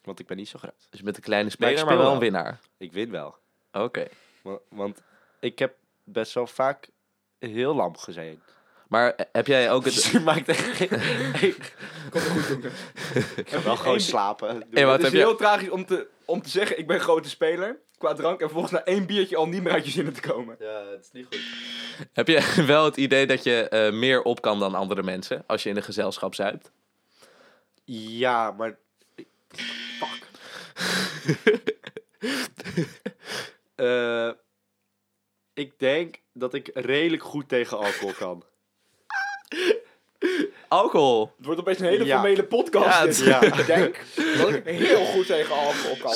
Want ik ben niet zo groot.
dus met een kleine
ik
speler,
speel
maar wel
wel.
een winnaar.
Ik win wel.
Oké.
Wa- Want ik heb best wel vaak heel lam gezeten.
Maar eh, heb jij ook het...
Je maakt echt geen...
Komt goed, jongen.
wel gewoon slapen.
Hey, wat
het is
heb je-
heel tragisch om te, om te zeggen, ik ben grote speler. Qua drank en volgens na één biertje al niet meer uit je zinnen te komen.
Ja, het is niet goed.
Heb je wel het idee dat je eh, meer op kan dan andere mensen als je in een gezelschap zuipt?
Ja, maar... Fuck. Eh, ik denk dat ik redelijk goed tegen alcohol kan.
Alcohol.
Het wordt opeens een hele
Ja.
formele
Ja,
podcast.
het-
dit. Ik denk dat ik heel goed tegen alcohol kan.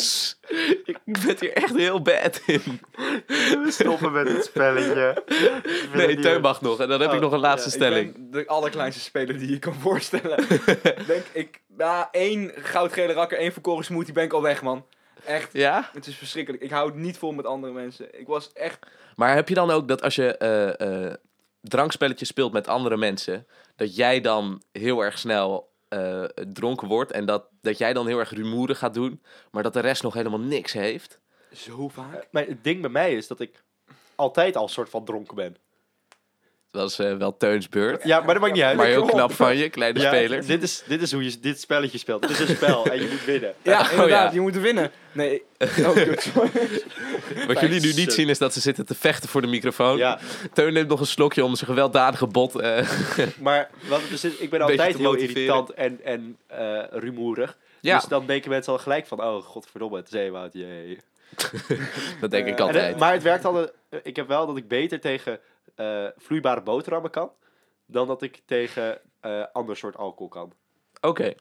Ik ben hier echt heel bad in.
We stoppen met het spelletje.
Nee, Teun mag nog. En dan heb ik
Oh,
nog een laatste
Ik
stelling.
ben de allerkleinste speler die je kan voorstellen. Ik denk ik, na één goudgele rakker, één verkoren smoothie ben ik al weg, man. Echt,
Ja?
het is verschrikkelijk. Ik hou het niet vol met andere mensen. Ik was echt...
Maar heb je dan ook dat als je eh, eh, drankspelletjes speelt met andere mensen, dat jij dan heel erg snel eh, dronken wordt en dat, dat jij dan heel erg rumoerig gaat doen, maar dat de rest nog helemaal niks heeft?
Zo
Eh,
vaak.
Maar het ding bij mij is dat ik altijd al soort van dronken ben.
Dat is eh, wel Teuns beurt.
Ja, maar dat maakt niet uit.
Maar heel
kom op.
knap van je, kleine
Ja,
speler.
Dit is, dit is hoe je dit spelletje speelt. Het is een spel en je moet winnen.
Ja,
Oh,
inderdaad,
ja.
je moet winnen. Nee, oh, kut, sorry.
Wat jullie nu niet
Thanks.
zien is dat ze zitten te vechten voor de microfoon.
Ja,
Teun neemt nog een slokje om zijn gewelddadige bot. eh,
maar wat het dus is, ik ben
Beetje
altijd
te
heel
motiveren.
irritant en, en eh, rumoerig.
ja,
Dus dan denken mensen al gelijk van, oh godverdomme, het is Ewout, jee.
dat denk
eh,
ik
En
altijd.
het- Maar het werkt altijd, ik heb wel dat ik beter tegen eh, vloeibare boterhammen kan, dan dat ik tegen eh, ander soort alcohol kan.
Oké,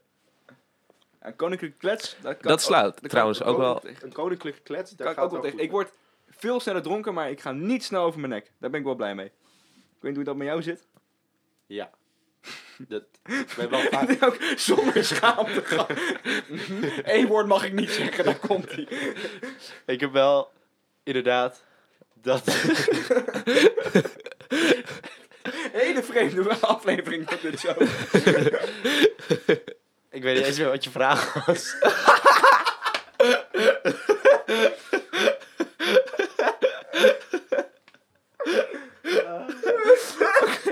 En Koninklijk Klets, dat, kan
dat
ook-
slaat
daar
trouwens
kan ik
ook wel.
tegen.
Een koninklijke klets, daar
Daar kan
gaat
ik ook wel tegen. Ik word veel sneller dronken, maar ik ga niet snel over mijn nek. Daar ben ik wel blij mee. Ik weet niet hoe dat met jou zit.
Ja. Dat, ik ben wel vaak...
Ook Zonder schaamte. Eén woord mag ik niet zeggen, daar komt hij.
Ik heb wel, inderdaad, dat...
Hele vreemde aflevering dat dit zo.
ik weet niet eens meer wat je vraag was.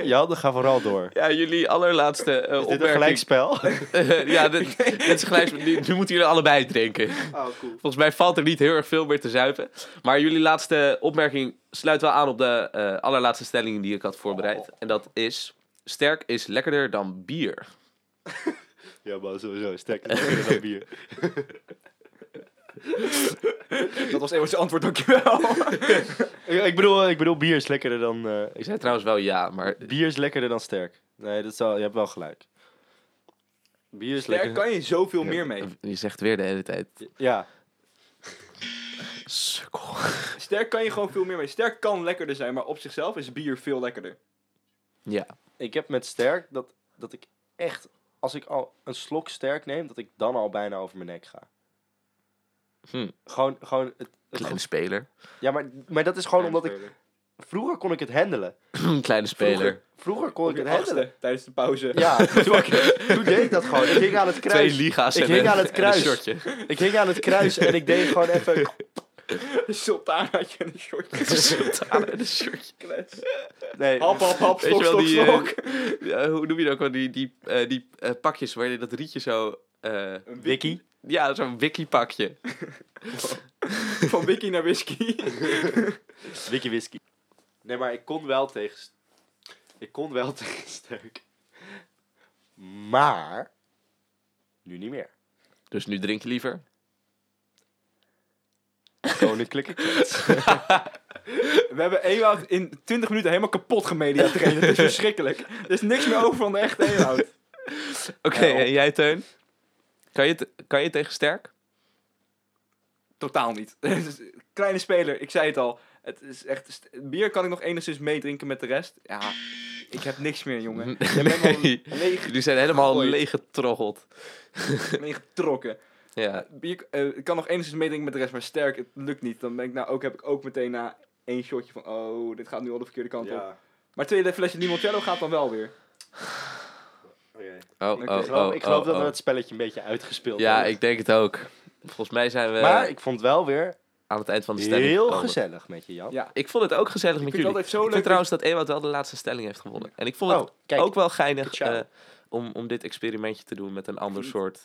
Ja, dan ga vooral door.
Ja, jullie allerlaatste eh,
Is dit een
opmerking.
gelijkspel?
Eh, ja, dit, dit is gelijk. Nu, nu moeten jullie allebei drinken.
Oh, cool.
Volgens mij valt er niet heel erg veel meer te zuipen. Maar jullie laatste opmerking sluit wel aan op de eh, allerlaatste stelling die ik had voorbereid.
Oh.
En dat is: sterk is lekkerder dan bier.
Ja, maar sowieso. Sterk lekkerder dan bier.
Dat was Ewout's antwoord, dankjewel.
Ik, ik bedoel, ik bedoel, bier is lekkerder dan... eh,
Ik zei trouwens wel ja, maar
bier is lekkerder dan sterk. Nee, dat is wel, je hebt wel gelijk. Bier is
Daar
lekker.
kan je zoveel meer mee.
je zegt weer de hele tijd.
Ja.
Sukkel.
Sterk kan je gewoon veel meer mee. Sterk kan lekkerder zijn, maar op zichzelf is bier veel lekkerder.
Ja.
Ik heb met sterk dat, dat ik echt als ik al een slok sterk neem, dat ik dan al bijna over mijn nek ga.
Hm.
Gewoon, gewoon het, het
Kleine speler.
Ja, maar, maar dat is gewoon omdat ik...
Speler.
Vroeger kon ik het handelen.
Kleine speler.
Vroeger kon ik
Op
het
je
handelen.
achtste, tijdens de pauze.
Ja, toen, toen deed ik dat gewoon. Ik hing aan het
Twee
kruis.
liga's
Ik
en,
hing
een-
aan het
en
kruis.
een shirtje.
Ik hing aan het kruis en ik deed gewoon even...
Sultan had je een shortje.
Sultan en een shirtje.
Klets.
Nee,
Hap, hap, hap,
Weet
slok,
je wel,
slok,
die, eh,
slok.
Ja, hoe noem je dat ook wel? Die, die, eh, die eh, pakjes waar je dat rietje zo... eh,
Een wiki.
Wiki.
ja, zo'n wiki-pakje.
Van wiki naar whisky.
Wiki whisky. Nee, maar ik kon wel tegen... st- Ik kon wel tegen sterk. Maar... Nu niet meer.
Dus nu drink je liever.
Koninklijke kids.
We hebben Ewout in 20 minuten helemaal kapot gemedia trainen. Dat is verschrikkelijk. Er is niks meer over van de echte Ewout.
Oké,
Ja, op-
en jij Teun? Kan je, te- kan je tegen sterk?
Totaal niet. Dus, Kleine speler, ik zei het al. Het is echt... st- Bier kan ik nog enigszins meedrinken met de rest. Ja, ik heb niks meer, jongen. Jij bent
Nee.
al leeg,
Jullie zijn helemaal
Gegooid.
leeggetroggeld.
meegetrokken.
Ja,
Bier eh, ik kan nog enigszins meedrinken met de rest, maar sterk, het lukt niet. Dan ben ik nou ook, heb ik ook meteen na één shotje van... Oh, dit gaat nu al de verkeerde kant op.
Ja.
Maar tweede flesje limoncello gaat dan wel weer.
Oké.
oh,
Ik
oh,
Ik geloof,
oh,
ik geloof
oh,
dat we
oh.
het spelletje een beetje uitgespeeld
Ja,
hebben.
ik denk het ook. Volgens mij zijn we
Maar ik vond het wel weer
aan het eind van de stelling
heel
gekomen.
gezellig met je, Jan.
Ja.
Ik vond het ook gezellig met
Ik vind het altijd
jullie. Ik
zo
vind
leuk.
trouwens dat Ewout wel de laatste stelling heeft gewonnen. En ik vond het
Oh, kijk.
ook wel geinig
ciao.
eh, om, om dit experimentje te doen met een ander soort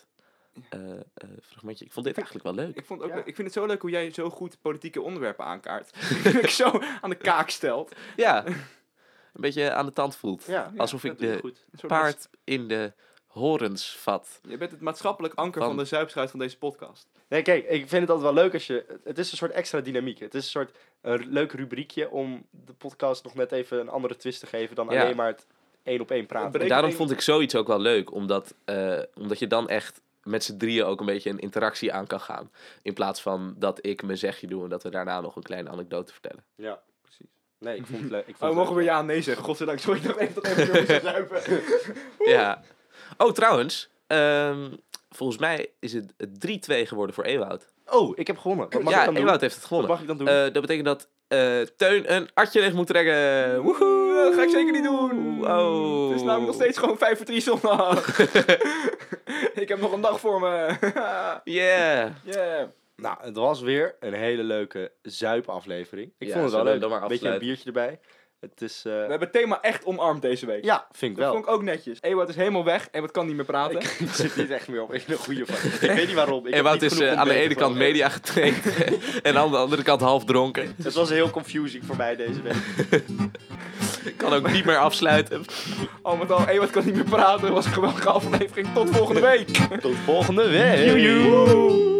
eh, eh, fragmentje. Ik vond dit eigenlijk wel leuk.
Ik, vond het ook,
Ja.
ik vind het zo leuk hoe jij zo goed politieke onderwerpen aankaart. dat ik zo aan de kaak stelt.
Ja, een beetje aan de tand voelt.
Ja,
Alsof ik
dat doe je
de
goed.
Een soort maats-
Paard in de horens vat.
Je bent het maatschappelijk anker van,
Van-
de zuipschuit van deze podcast.
Nee, kijk, ik vind het altijd wel leuk als je... Het is een soort extra dynamiek. Het is een soort een r- leuk rubriekje om de podcast nog net even een andere twist te geven dan
Ja.
alleen maar het één op één praten.
Breek-
Daarom
een-
vond ik zoiets ook wel leuk, omdat, eh, omdat je dan echt met z'n drieën ook een beetje een interactie aan kan gaan. In plaats van dat ik mijn zegje doe en dat we daarna nog een kleine anekdote vertellen.
Ja, precies. Nee, ik vond het leuk. Ik vond
Oh,
het
mogen we
leuk.
ja en nee zeggen? Godzijdank, sorry dat even dat even door moest zuipen.
Ja. Oh, trouwens, ehm, volgens mij is het 3-2 geworden voor Ewout.
Oh, ik heb gewonnen. Wat mag ik
ja,
dan doen?
Ewout heeft het
Wat
gewonnen.
mag ik dan doen?
Eh, dat betekent dat eh, Teun een artje weg moet
Eh,
trekken. Woehoe!
Dat ga ik zeker niet doen.
Oh.
Het is namelijk nog steeds gewoon 5 voor 3 zondag. ik heb nog een dag voor me.
Yeah.
yeah.
Nou, het was weer een hele leuke zuipaflevering. Ik
Ja,
vond het wel
zullen we
leuk.
dan maar
Een beetje een
afsluiten?
biertje erbij. Het is... eh,
We hebben het thema echt omarmd deze week.
Ja, vind ik
Dat
wel.
vond ik ook netjes. Ewout is helemaal weg en wat kan niet meer praten.
Ik zit niet echt meer op een goede van. Ik weet niet waarom. Ik heb
Ewout
niet
is
genoeg
eh, aan de
ontbeten
ene kant
van-
media getraind en aan de andere kant half dronken.
Het was heel confusing voor mij deze week.
Kan ook niet meer afsluiten.
Al met al, Ewout kan niet meer praten. Dat was een geweldige aflevering. Tot volgende week.
Tot volgende week.
Joejoe.